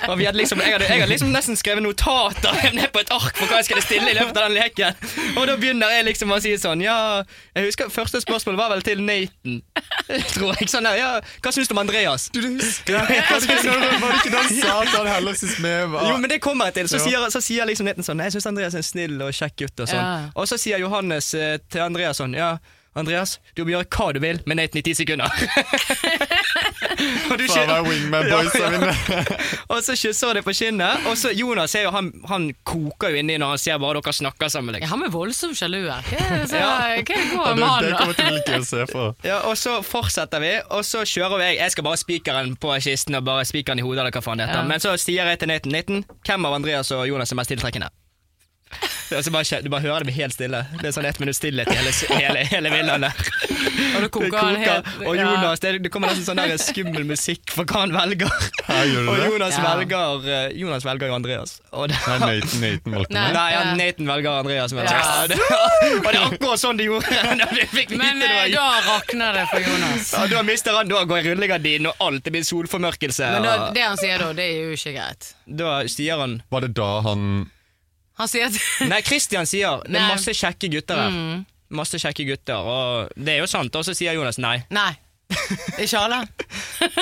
S2: og vi hadde liksom, jeg, hadde, jeg hadde liksom nesten skrevet notater ned på et ark for hva jeg skulle stille i løpet av den leken. Og da begynner jeg liksom å si sånn Ja, jeg husker første spørsmål var vel til Nathan, tror jeg. Sånn, der, ja, hva syns du om Andreas?
S3: Du, du husker det? Var det ikke noe- var det ikke det han sa at han heller synes vi var
S2: Jo, men det kommer jeg til. Så
S3: Ja.
S2: sier, så sier liksom Nathan sånn Nei, jeg syns Andreas er en snill og kjekk gutt. Og sånn
S1: Ja.
S2: Og så sier Johannes eh, til Andreas sånn Ja, Andreas, du må gjøre hva du vil med Nathan i ti sekunder. og, du
S3: Faen, det er
S2: kjen-
S3: wingman boys
S2: Ja, ja.
S3: der inne.
S2: og så kysser han det på kinnet. Og så Jonas er jo, han, han koker jo inni når han ser bare dere snakker sammen.
S1: Ja,
S2: Liksom.
S1: han er voldsomt sjalu her. Hva er det som-
S2: Ja.
S1: hva er det
S3: Ja,
S1: går
S3: det,
S1: med han,
S3: det
S1: da?
S3: kommer til å like å se på.
S2: Ja, Og så fortsetter vi, og så kjører vi. Jeg skal bare spikeren på kisten og bare spikeren i hodet. eller hva faen det heter.
S1: Ja.
S2: Men så sier jeg til Nathan Nathan, hvem av Andreas og Jonas er mest tiltrekkende? Og så bare, kje- du bare hører det blir helt stille. Det er sånn ett minutts stillhet i hele, hele, hele villaen der.
S1: Og det koker han helt.
S2: Og
S1: ja.
S2: Jonas, det, det kommer nesten sånn der skummel musikk for hva han velger.
S3: Her gjør du
S2: Og
S3: det.
S2: Jonas
S1: Ja.
S2: velger eh, Jonas velger jo Andreas. Og det,
S3: Nei, Nathan, Nathan valgte
S1: Nei.
S3: meg.
S2: Nei, ja,
S1: ja.
S2: Nathan velger Andreas. Men,
S1: Ja.
S2: ja. det, og det er akkurat sånn de gjorde. Da de fikk vite
S1: Men
S2: det
S1: eh,
S2: var
S1: da rakner det for Jonas.
S2: ja, da mister han, da går rullegardinen og alt, det blir solformørkelse.
S1: Men da,
S2: og
S1: det han sier da, det er jo ikke greit.
S2: da sier han
S3: Var det da han
S1: Han sier at
S2: Nei, Christian sier det er
S1: Nei. Mm.
S2: masse kjekke gutter her. Masse kjekke gutter, og det er jo sant. Og så sier Jonas nei.
S1: Nei. Ikke alle.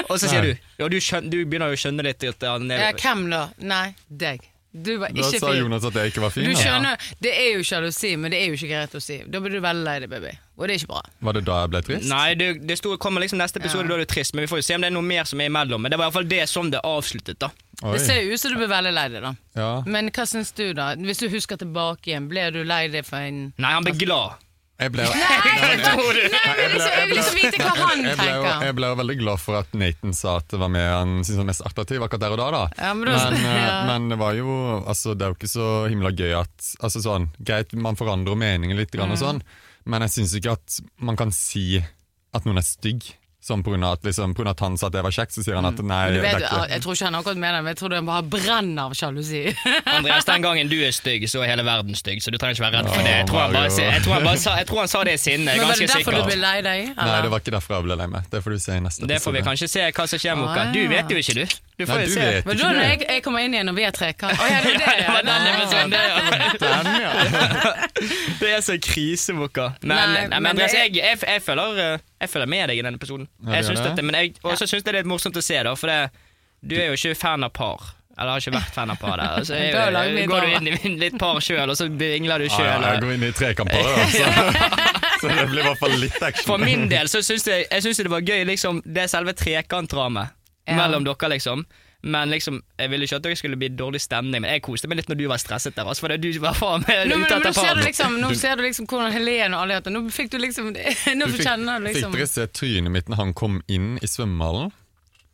S2: Og så sier du ja, du, skjøn, du begynner jo å skjønne litt at han er
S1: Ja, hvem da? Nei, deg. Du var
S3: Da
S1: ikke
S3: sa
S1: fin.
S3: Jonas at jeg ikke var fin.
S1: Du
S3: da.
S1: skjønner, Det er jo sjalusi, men det er jo ikke greit å si. Da blir du veldig lei deg, baby. Og det er ikke bra.
S3: Var det da jeg ble trist?
S2: Nei, du, det sto, kommer liksom neste episode,
S1: Ja.
S2: da er du trist. Men vi får jo se om det er noe mer som er imellom. Men det var iallfall det som det avsluttet, da.
S3: Oi.
S1: Det ser jo ut som du blir veldig lei deg, da.
S3: Ja.
S1: Men hva syns du, da? Hvis du husker tilbake igjen, ble du lei deg for en
S2: Nei, han ble glad.
S3: Jeg ble
S2: Tror du?
S1: Nei, men liksom, jeg vil liksom vite hva han
S3: jeg ble, jo,
S1: tenker.
S3: jeg ble jo veldig glad for at Nathan sa at det var med han syntes var mest attraktiv akkurat der og da. da.
S1: Ja, men da-
S3: men, eh,
S1: ja.
S3: men det var jo altså, Det er jo ikke så himla gøy at altså, sånn, Greit, man forandrer meningen litt, grann og
S1: Mm.
S3: sånn, men jeg syns ikke at man kan si at noen er stygg. Sånn på grunn av at, liksom, på grunn av at han sa at jeg var kjekk, så sier han at nei,
S1: Du
S3: det er
S1: Mm. vet, jo,
S3: ikke
S1: jeg tror ikke han akkurat mener det, men jeg tror han bare brenner av sjalusi.
S2: Andreas, den gangen du er stygg, så er hele verden stygg, så du trenger ikke være redd for det. Jeg tror han, bare,
S3: Mario.
S2: si- jeg tror han, bare sa, jeg tror han sa det i sinne.
S1: Men var det
S2: Ganske
S1: derfor du
S2: sikkert.
S1: ble lei deg?
S3: Nei, det
S1: eller?
S3: var ikke derfor jeg ble lei meg. Det får du se i neste
S2: Det får vi kanskje se hva som skjer, Moka.
S1: Ah,
S2: Du
S1: ja.
S2: vet jo ikke, du. Du får
S3: Nei,
S2: jo
S3: du
S2: se.
S3: vet
S1: Men
S3: ikke
S1: da når
S3: det.
S1: jeg, jeg kommer inn igjen og vi er tre hva- Å ja, det er det, ja.
S2: var den
S1: Ja.
S2: episoden, det,
S3: Den, ja.
S2: Det er så krise, Moka. Men,
S1: Nei,
S2: nei, men
S1: men
S2: Andreas,
S1: det er-
S2: jeg, jeg, jeg, føler, eh, jeg føler med deg i denne episoden.
S3: Ja,
S2: Jeg
S3: det
S2: syns
S3: gjør det.
S2: dette, men jeg, også syns jeg det er litt morsomt å se, da, for det, du er jo ikke fan av par. Eller har ikke vært fan av par der. Så
S1: Da har jeg laget mye
S2: går
S1: drama.
S2: du inn i litt par sjøl, og så vingler du
S3: Ja, ja, jeg
S2: sjøl.
S3: går inn i trekamper, altså. så det blir i hvert fall litt action.
S2: For min del så syns jeg, jeg synes det var gøy, liksom, det selve trekantdramet
S1: Ja.
S2: mellom dere, liksom. Men liksom, jeg ville ikke at dere skulle bli dårlig stemning, men jeg koste meg litt når du var stresset der. Altså, for det du var faen meg
S1: Nå, men,
S2: ute
S1: nå,
S2: etter
S1: ser du
S2: par.
S1: liksom, nå ser du liksom hvordan Helene og alle heter. Nå fikk du liksom Nå
S3: Du
S1: fikk,
S3: fikk,
S1: kjenner du liksom
S3: fikk dere se trynet mitt når han kom inn i svømmehallen?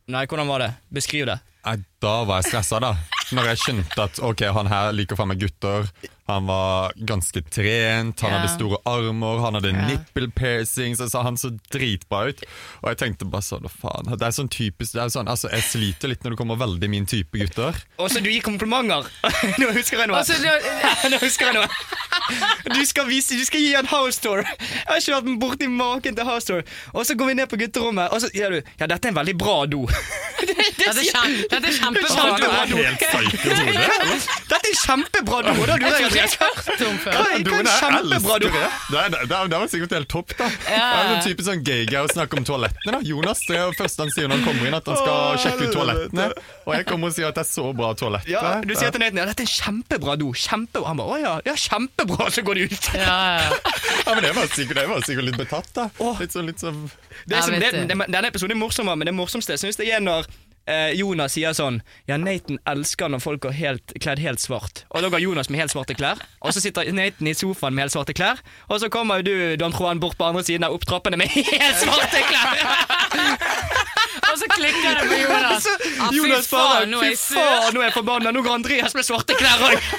S2: Nei, hvordan var det? Beskriv det.
S3: Nei, Da var jeg stressa, da. Når jeg skjønte at ok, han her liker faen meg gutter. Han var ganske trent, han
S1: Ja.
S3: hadde store armer, han hadde nipple piercings. Altså, han så dritbra ut. Og jeg tenkte bare sånn, «Å, faen. Det er sånn typisk det er sånn, altså, Jeg sliter litt når det kommer veldig min type gutter.
S2: Og så du gir komplimenter. Nå husker jeg noe.
S1: Altså, da-
S2: Nå husker jeg noe. Du skal, vise, du skal gi en house tour. Jeg har ikke vært borti maken til house tour. Og så går vi ned på gutterommet, og så sier du ja, dette er en veldig bra do. Det- det
S1: Dette er
S2: sier-
S1: kjem- dette er kjempebra.
S2: Kjempebra
S1: Dette
S2: do.
S3: Helt psycho, Tore.
S2: Dette er en kjempebra do. Og da lurer jeg
S1: Jeg
S2: Andreas, hva
S1: har ikke hørt om før.
S2: hva er
S3: Doen
S2: en
S3: er
S2: kjempebra do?
S3: elsker det. Det, er- det, er- det var sikkert helt topp, da. Det er sånn typisk sånn gay-gay å snakke om toalettene. da Jonas det er jo første han sier når han kommer inn, at han skal sjekke ut toalettene. Og jeg kommer og sier at det er så bra toalett.
S2: Ja,
S3: der.
S2: du sier til Nathan ja, dette er en kjempebra do. Kjempebra. Han bare å ja, ja, kjempebra. Så går de ut.
S1: Ja, ja.
S3: ja, men det var, sikkert, det var sikkert litt betatt, da.
S2: Åh.
S3: Litt sånn, litt sånn
S2: Det er
S1: Ja,
S2: som,
S1: vet
S2: det,
S1: du.
S2: det, denne episoden er morsommere, men det morsomste syns jeg er når eh, Jonas sier sånn Ja, Nathan elsker når folk er helt, kledd helt svart. Og da går Jonas med helt svarte klær, og så sitter Nathan i sofaen med helt svarte klær, og så kommer jo du, Don Juan, bort på andre siden av opp trappene med helt svarte klær!
S1: Og så klikker det på Jonas.
S2: Så
S1: Ah, fy
S2: Jonas bare
S1: faen, nå er
S2: Fy
S1: jeg sur.
S2: faen, nå er jeg forbanna! Nå går Andreas med svarte klær òg!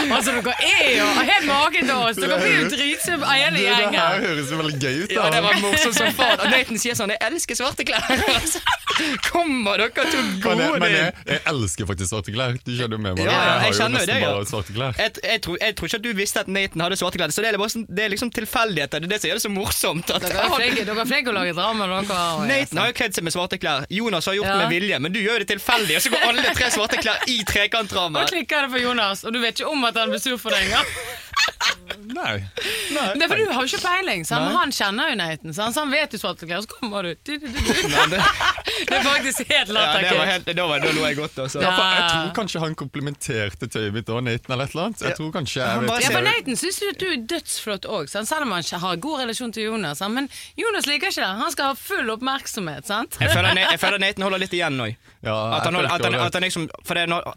S1: Altså, dere er jo helt maken til oss. Dere blir jo dritsure, hele
S3: Det, det
S1: gjengen.
S3: her høres jo veldig gøy ut, da.
S2: Ja, det var morsomt som faen. Og Nathan sier sånn Jeg elsker svarte klær! Kommer dere to
S3: Men, jeg,
S2: gode
S3: men jeg,
S2: inn?
S3: jeg elsker faktisk svarte klær. Du skjønner jo med meg.
S2: Ja, ja, jeg
S3: jeg har jo
S2: kjenner jo
S3: nesten
S2: det, ja.
S3: bare svarte klær.
S2: Jeg, jeg, tror, jeg tror ikke at du visste at Nathan hadde svarte klær. Så det er, bare, sånn- det er liksom tilfeldigheter. Det er det som gjør det så morsomt. At
S1: Dere er flinke, dere er flinke å lage drama. Dere, og,
S2: Nathan har jo kledd seg med svarte klær. Jonas har gjort
S1: Ja.
S2: det med vilje, men du gjør jo det tilfeldig. Og så går alle tre svarte klær i
S1: Nå
S2: trekantdramaet.
S1: klikker det for Jonas, og du vet ikke om at han blir sur for deg engang.
S3: Nei.
S1: Det er for du har jo ikke peiling. Sant? Men
S2: Nei.
S1: han kjenner jo Nathan, sant? så han vet jo svarte klær. Og så kommer du. Du, du, du, du.
S2: Men det-
S1: Det er faktisk helt
S2: Ja, det var
S1: latterkult.
S2: helt, da, var, da lo jeg godt, altså.
S1: Ja.
S3: For jeg tror kanskje han komplimenterte tøyet mitt og Nathan eller et eller annet. Jeg tror kanskje
S2: Han
S3: jeg
S2: bare
S3: vet
S1: Ja,
S2: ser
S1: for
S3: ikke.
S1: Nathan syns jo at du er dødsflott òg, selv om han ikke har god relasjon til Jonas. Sant? Men Jonas liker ikke det. Han skal ha full oppmerksomhet. sant?
S2: Jeg føler, Na- jeg føler Nathan holder litt igjen nå.
S3: Ja,
S2: At han,
S3: jeg
S2: holder- at
S3: følte
S2: han,
S3: det.
S2: at han liksom For det er når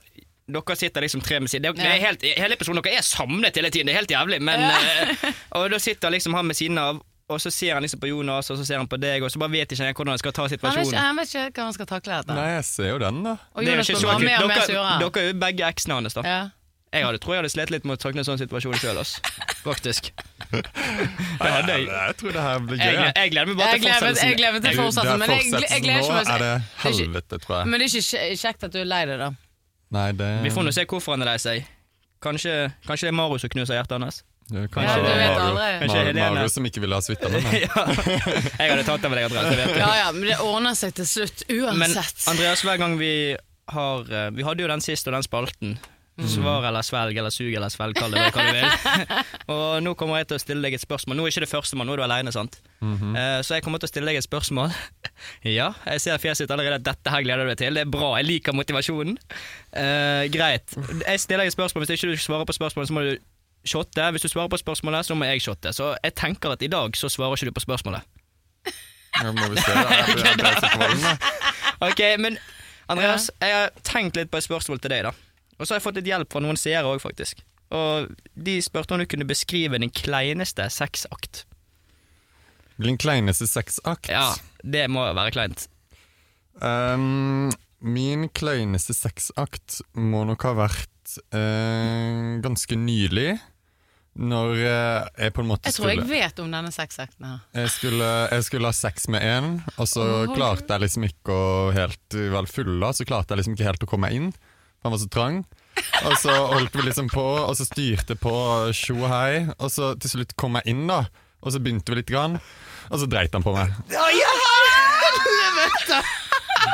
S2: dere sitter liksom tre med siden det, det er
S1: Ja.
S2: helt, Hele personen dere er samlet hele tiden, det er helt jævlig, men eh, Og da sitter liksom han med siden av, og så ser han liksom på Jonas, og så ser han på deg, og så bare vet ikke han hvordan han skal ta
S1: Han vet,
S2: situasjonen.
S1: ikke, han vet ikke hva han skal takle dette.
S3: Nei, jeg ser jo den, da.
S1: Og
S2: Det er jo
S1: Jonas
S2: ikke
S1: blir
S2: så
S1: bare
S2: kult.
S1: mer og mer
S2: Dere,
S1: sure.
S2: dere er jo begge eksene hans, da.
S1: Ja.
S2: Jeg hadde, tror jeg hadde slitt litt med å takle en sånn situasjon sjøl, Faktisk. Det hadde jeg.
S3: Jeg tror det her blir gøy.
S2: Jeg, gleder- jeg gleder meg bare
S1: Jeg
S2: til
S1: gleder
S2: fortsettelsen.
S1: jeg gleder meg
S3: Jeg-
S1: til fortsettelsen,
S3: det
S1: men
S3: er
S1: jeg, jeg gleder ikke
S3: fortsettelsen. Nå er det
S1: meg til-
S3: helvete, tror jeg.
S1: Men det er ikke kje- kjekt at du er lei deg, da.
S3: Nei, det
S2: Vi får nå se hvorfor han er lei seg. Kanskje, kanskje det er Mario som knuser hjertet hans.
S3: Ja,
S1: Ja,
S3: Kanskje
S1: du
S3: det
S1: vet
S3: var Mario,
S1: aldri.
S2: Kanskje
S3: Mario,
S2: Helene.
S3: Mario som ikke ville ha suita med meg.
S2: ja. Jeg hadde tatt av deg adresse, vet du.
S1: Ja ja, men det ordner seg til slutt
S2: Men
S1: uansett.
S2: Andreas, hver gang vi har eh, Vi hadde jo den sist og den spalten. Svar eller svelg eller sug eller svelg, kall det hva du vil. og nå kommer jeg til å stille deg et spørsmål. Nå er ikke det første, mann, nå er du aleine, sant? Eh, så jeg kommer til å stille deg et spørsmål. ja, jeg ser fjeset ditt allerede. Dette her gleder du deg til. Det er bra. Jeg liker motivasjonen. Eh, greit. Jeg stiller deg et spørsmål. Hvis ikke du svarer på spørsmålet, så må du shotte. Hvis du svarer på spørsmålet, så må jeg shotte. Så jeg tenker at i dag så svarer ikke du på spørsmålet.
S3: Ja, Må vi se, da. Jeg ble- jeg ble så kvalm, da.
S2: Ok, men Andreas, jeg har tenkt litt på et spørsmål til deg, da. Og så har jeg fått litt hjelp fra noen seere òg, faktisk. Og de spurte om du kunne beskrive din kleineste sexakt.
S3: Min kleineste sexakt.
S2: Ja, det må jo være kleint.
S3: Ehm, min kleineste sexakt må nok ha vært eh, ganske nylig. Når eh, jeg på en måte
S1: Jeg tror jeg
S3: skulle
S1: vet om denne sexakten her.
S3: jeg skulle, jeg skulle ha sex med en, og så
S1: Oi.
S3: klarte jeg liksom ikke å helt Vel, fulla, så klarte jeg liksom ikke helt å komme meg inn. for Han var så trang. Og så holdt vi liksom på, og så styrte på tjo og hei. Og så til slutt kom jeg inn, da. Og så begynte vi litt, grann, og så dreit han på meg. Det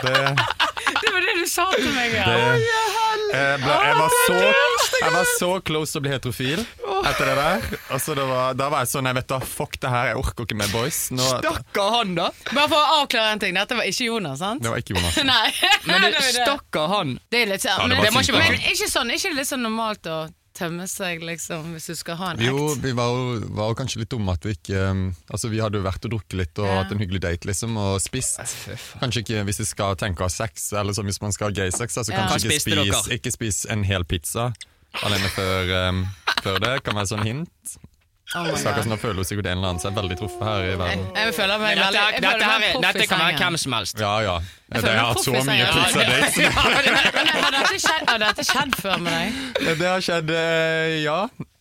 S1: Det var det du sa til meg. Ja.
S3: Det, jeg, ble, jeg, var så, jeg var så close til å bli heterofil etter det der. Altså, det var, da var jeg sånn Nei, vet du, fuck det her, jeg orker ikke mer boys. Nå,
S2: Stakkar han, da!
S1: Bare for å avklare en ting. Dette var ikke Jonas, sant?
S3: det var ikke Jonas.
S1: Nei.
S2: Men
S1: det
S2: du,
S1: var det.
S2: stakkar han!
S1: Det er litt sånn,
S3: Ja, det
S1: men,
S3: var
S1: det må
S3: sykt,
S1: ikke,
S3: da.
S1: men ikke sånn, ikke litt sånn normalt å tømme seg, liksom, hvis du skal ha en
S3: Jo,
S1: act.
S3: vi var jo, var jo kanskje litt dumme at vi ikke um, Altså, vi hadde jo vært og drukket litt og
S1: Ja.
S3: hatt en hyggelig date, liksom, og spist. Kanskje ikke hvis vi skal tenke å ha sex, eller sånn hvis man skal ha gay sex, altså
S1: Ja.
S3: kanskje
S2: Hva
S3: ikke
S2: spiste
S3: spis,
S2: dere?
S3: ikke spis en hel pizza alene før, um, før det. Kan være sånn hint.
S1: Oh my
S3: Stakkars,
S1: God.
S3: nå føler jo sikkert en eller annen seg veldig truffet her i verden.
S1: Jeg, jeg føler meg
S2: Dette,
S1: veldig jeg føler meg
S2: dette, her, er-
S1: proff i
S2: dette kan være
S1: sengen.
S2: hvem som helst.
S3: Ja, ja. Jeg,
S1: føler
S3: jeg
S1: meg
S3: har hatt så
S1: proff i
S3: mye
S1: senga.
S3: pizza dates.
S1: Men Har dette skjedd, har dette skjedd før med deg?
S3: Det har skjedd, eh, ja.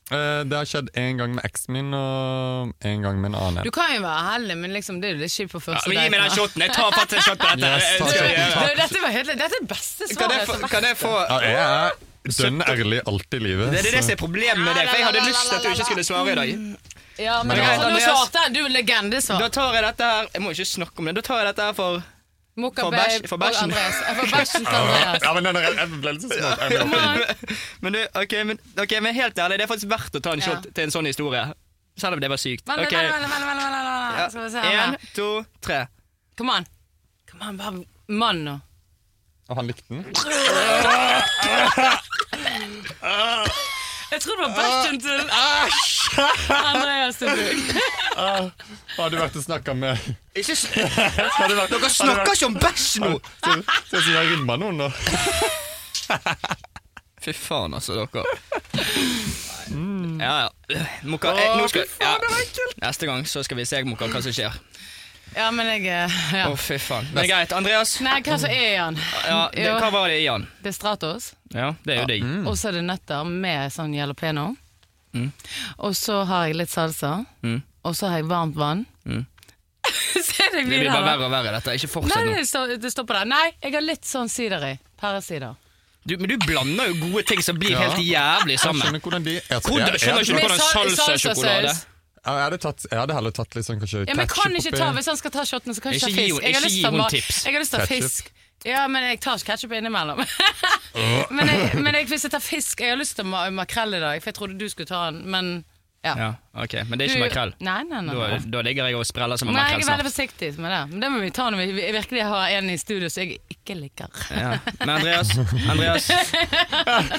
S3: Eh, Det har skjedd en gang med eksen min, og en gang med en
S1: Du
S3: annen.
S1: kan jo være heldig, men liksom, det er jo litt kjipt på
S2: Ja,
S1: første
S2: men gi meg den
S1: da.
S2: shoten! Jeg tar faktisk en shot på dette.
S3: Yes, ta
S2: Det skal jeg
S3: shoten,
S2: gjøre. altså.
S3: ta.
S1: Du, Dette var helt, dette er det beste
S2: Kan jeg
S1: svaret.
S2: få,
S1: som-
S2: kan jeg få
S3: Ja, jeg er dønn ærlig alt i livet.
S2: Det er det
S3: så-
S2: som er problemet med deg, for jeg hadde lyst til at du ikke skulle svare i dag.
S1: Ja, men
S3: Men
S1: altså,
S2: greit,
S1: nå
S2: Andreas.
S1: svarte jeg. Du er legendesvar.
S2: Da tar jeg dette her Jeg må ikke snakke om det. Da tar jeg dette her for
S1: Mokka
S2: for
S1: Babe
S2: bæsj- for
S1: og
S2: bæsjen.
S1: Andreas. Ja, For bæsjen til Andreas.
S3: Ja, men den er, jeg ble litt sånn så smått. Jeg ble-
S2: men, du, ok, men, ok, men helt ærlig, det er faktisk verdt å ta en
S1: Ja.
S2: shot til en sånn historie. Selv om det var sykt.
S1: Vent, vent,
S2: Ok,
S1: vent, vent, vent, vent, vent, vent,
S2: ja,
S1: vent. Skal vi se her.
S2: En, to, tre.
S1: Kom an. Kom an, bare mann nå.
S3: Og han likte den.
S1: Jeg tror det var bæsjen til Andreas til Bugg.
S3: Har du vært og snakka med
S2: Ikke s-
S3: Har du vært
S2: Dere snakker ikke om bæsj nå!
S3: Ser ut som jeg rimma noen nå.
S2: Fy faen, altså, dere.
S1: Mm.
S2: Ja, ja. Mokka, eh, nå skal, ja. Neste gang så skal vi se Mokka, hva som skjer.
S1: Ja, men jeg eh, ja.
S2: Å, fy faen. Men greit. Andreas,
S1: Nei, hva så er han?
S2: ja, det, Mm.
S1: Jo, Mm.
S2: hva var det i han?
S1: det er Stratos,
S2: Ja, det er jo digg.
S1: og så er det nøtter med sånn jalapeno. Og så har jeg litt salsa,
S2: Mm.
S1: og så har jeg varmt vann.
S2: Mm.
S1: Så er det
S2: Det
S1: blir
S2: blir
S1: det
S2: bare
S1: her, da.
S2: verre og verre, dette. Ikke
S1: Nei,
S2: fortsett nå.
S1: det står, det står på det. Nei, jeg har litt sånn sider i. Pæresider.
S2: Du, men du blander jo gode ting som blir
S3: Ja.
S2: helt jævlig
S3: Jeg skjønner
S2: sammen.
S3: hvordan de er
S2: Hvordan- skjønner
S3: jeg-
S2: ikke
S3: jeg-
S2: du
S1: Med
S2: hvordan
S1: sal-
S2: salsasjokolade?
S1: salsasaus.
S3: jeg hadde tatt- Jeg hadde heller tatt litt sånn kanskje
S1: Ja, men jeg kan
S3: ketchup
S1: ikke
S3: oppi.
S1: ta, Hvis han skal ta shotten, så kan jeg ikke ta
S2: Ikke gi
S1: fisk.
S2: henne-
S1: Jeg har
S2: ikke
S1: lyst
S2: gi
S1: til å
S2: henne
S1: ha-
S2: tips.
S1: Jeg har lyst til å ha
S3: Ketchup.
S1: fisk. Ja, men jeg tar ikke ketsjup innimellom. men jeg, men jeg, hvis jeg tar fisk Jeg har lyst til ma- makrell i dag, for jeg trodde du skulle ta den, men ja.
S2: Ja, ok, Men det er ikke
S1: Du-
S2: makrell.
S1: Nei, nei, nei.
S2: Da,
S1: nei.
S2: da ligger jeg og spreller som en
S1: Nei, jeg
S2: makrell altså.
S1: er veldig
S2: snart.
S1: forsiktig med det. Men det må vi ta når vi virkelig har en i studio som jeg ikke liker.
S2: Ja. Men Andreas, Andreas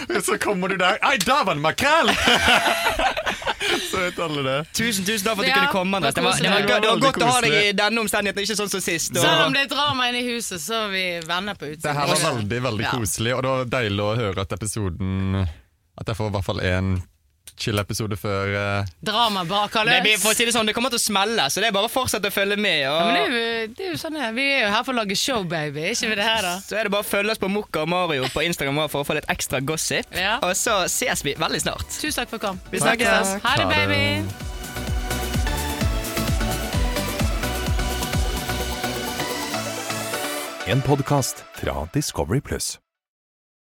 S3: Så kommer du der Ei, der var det makrell! så vet alle det.
S2: tusen tusen takk for at du
S1: Ja,
S2: kunne komme. Andreas. Det var, det var,
S1: koselig.
S2: gø- det var godt å ha deg i
S3: Koselig.
S2: denne omstendigheten, ikke sånn som sist. Og,
S1: Selv om det er drama inne i huset, så er vi venner på utsiden.
S3: Det her var veldig veldig
S1: Ja.
S3: koselig, og det var deilig å høre at episoden At jeg får i hvert fall én chill-episode før eh,
S1: Drama bak alle.
S2: det, blir, for å si det, sånn, det kommer til å smelle, så det er bare å fortsette å følge med. Og,
S1: Ja, men det er, jo, det er jo sånn det er. Vi er jo her for å lage show, baby. Er Ikke vi det her, da?
S2: Så er det bare å følge oss på Mokka og Mario på Instagram også for å få litt ekstra gossip.
S1: Ja.
S2: Og så ses vi veldig snart.
S1: Tusen takk for at du kom.
S2: Vi snakkes.
S1: Ha det,
S3: Ha det.
S1: baby.
S4: En podkast fra Discovery Pluss.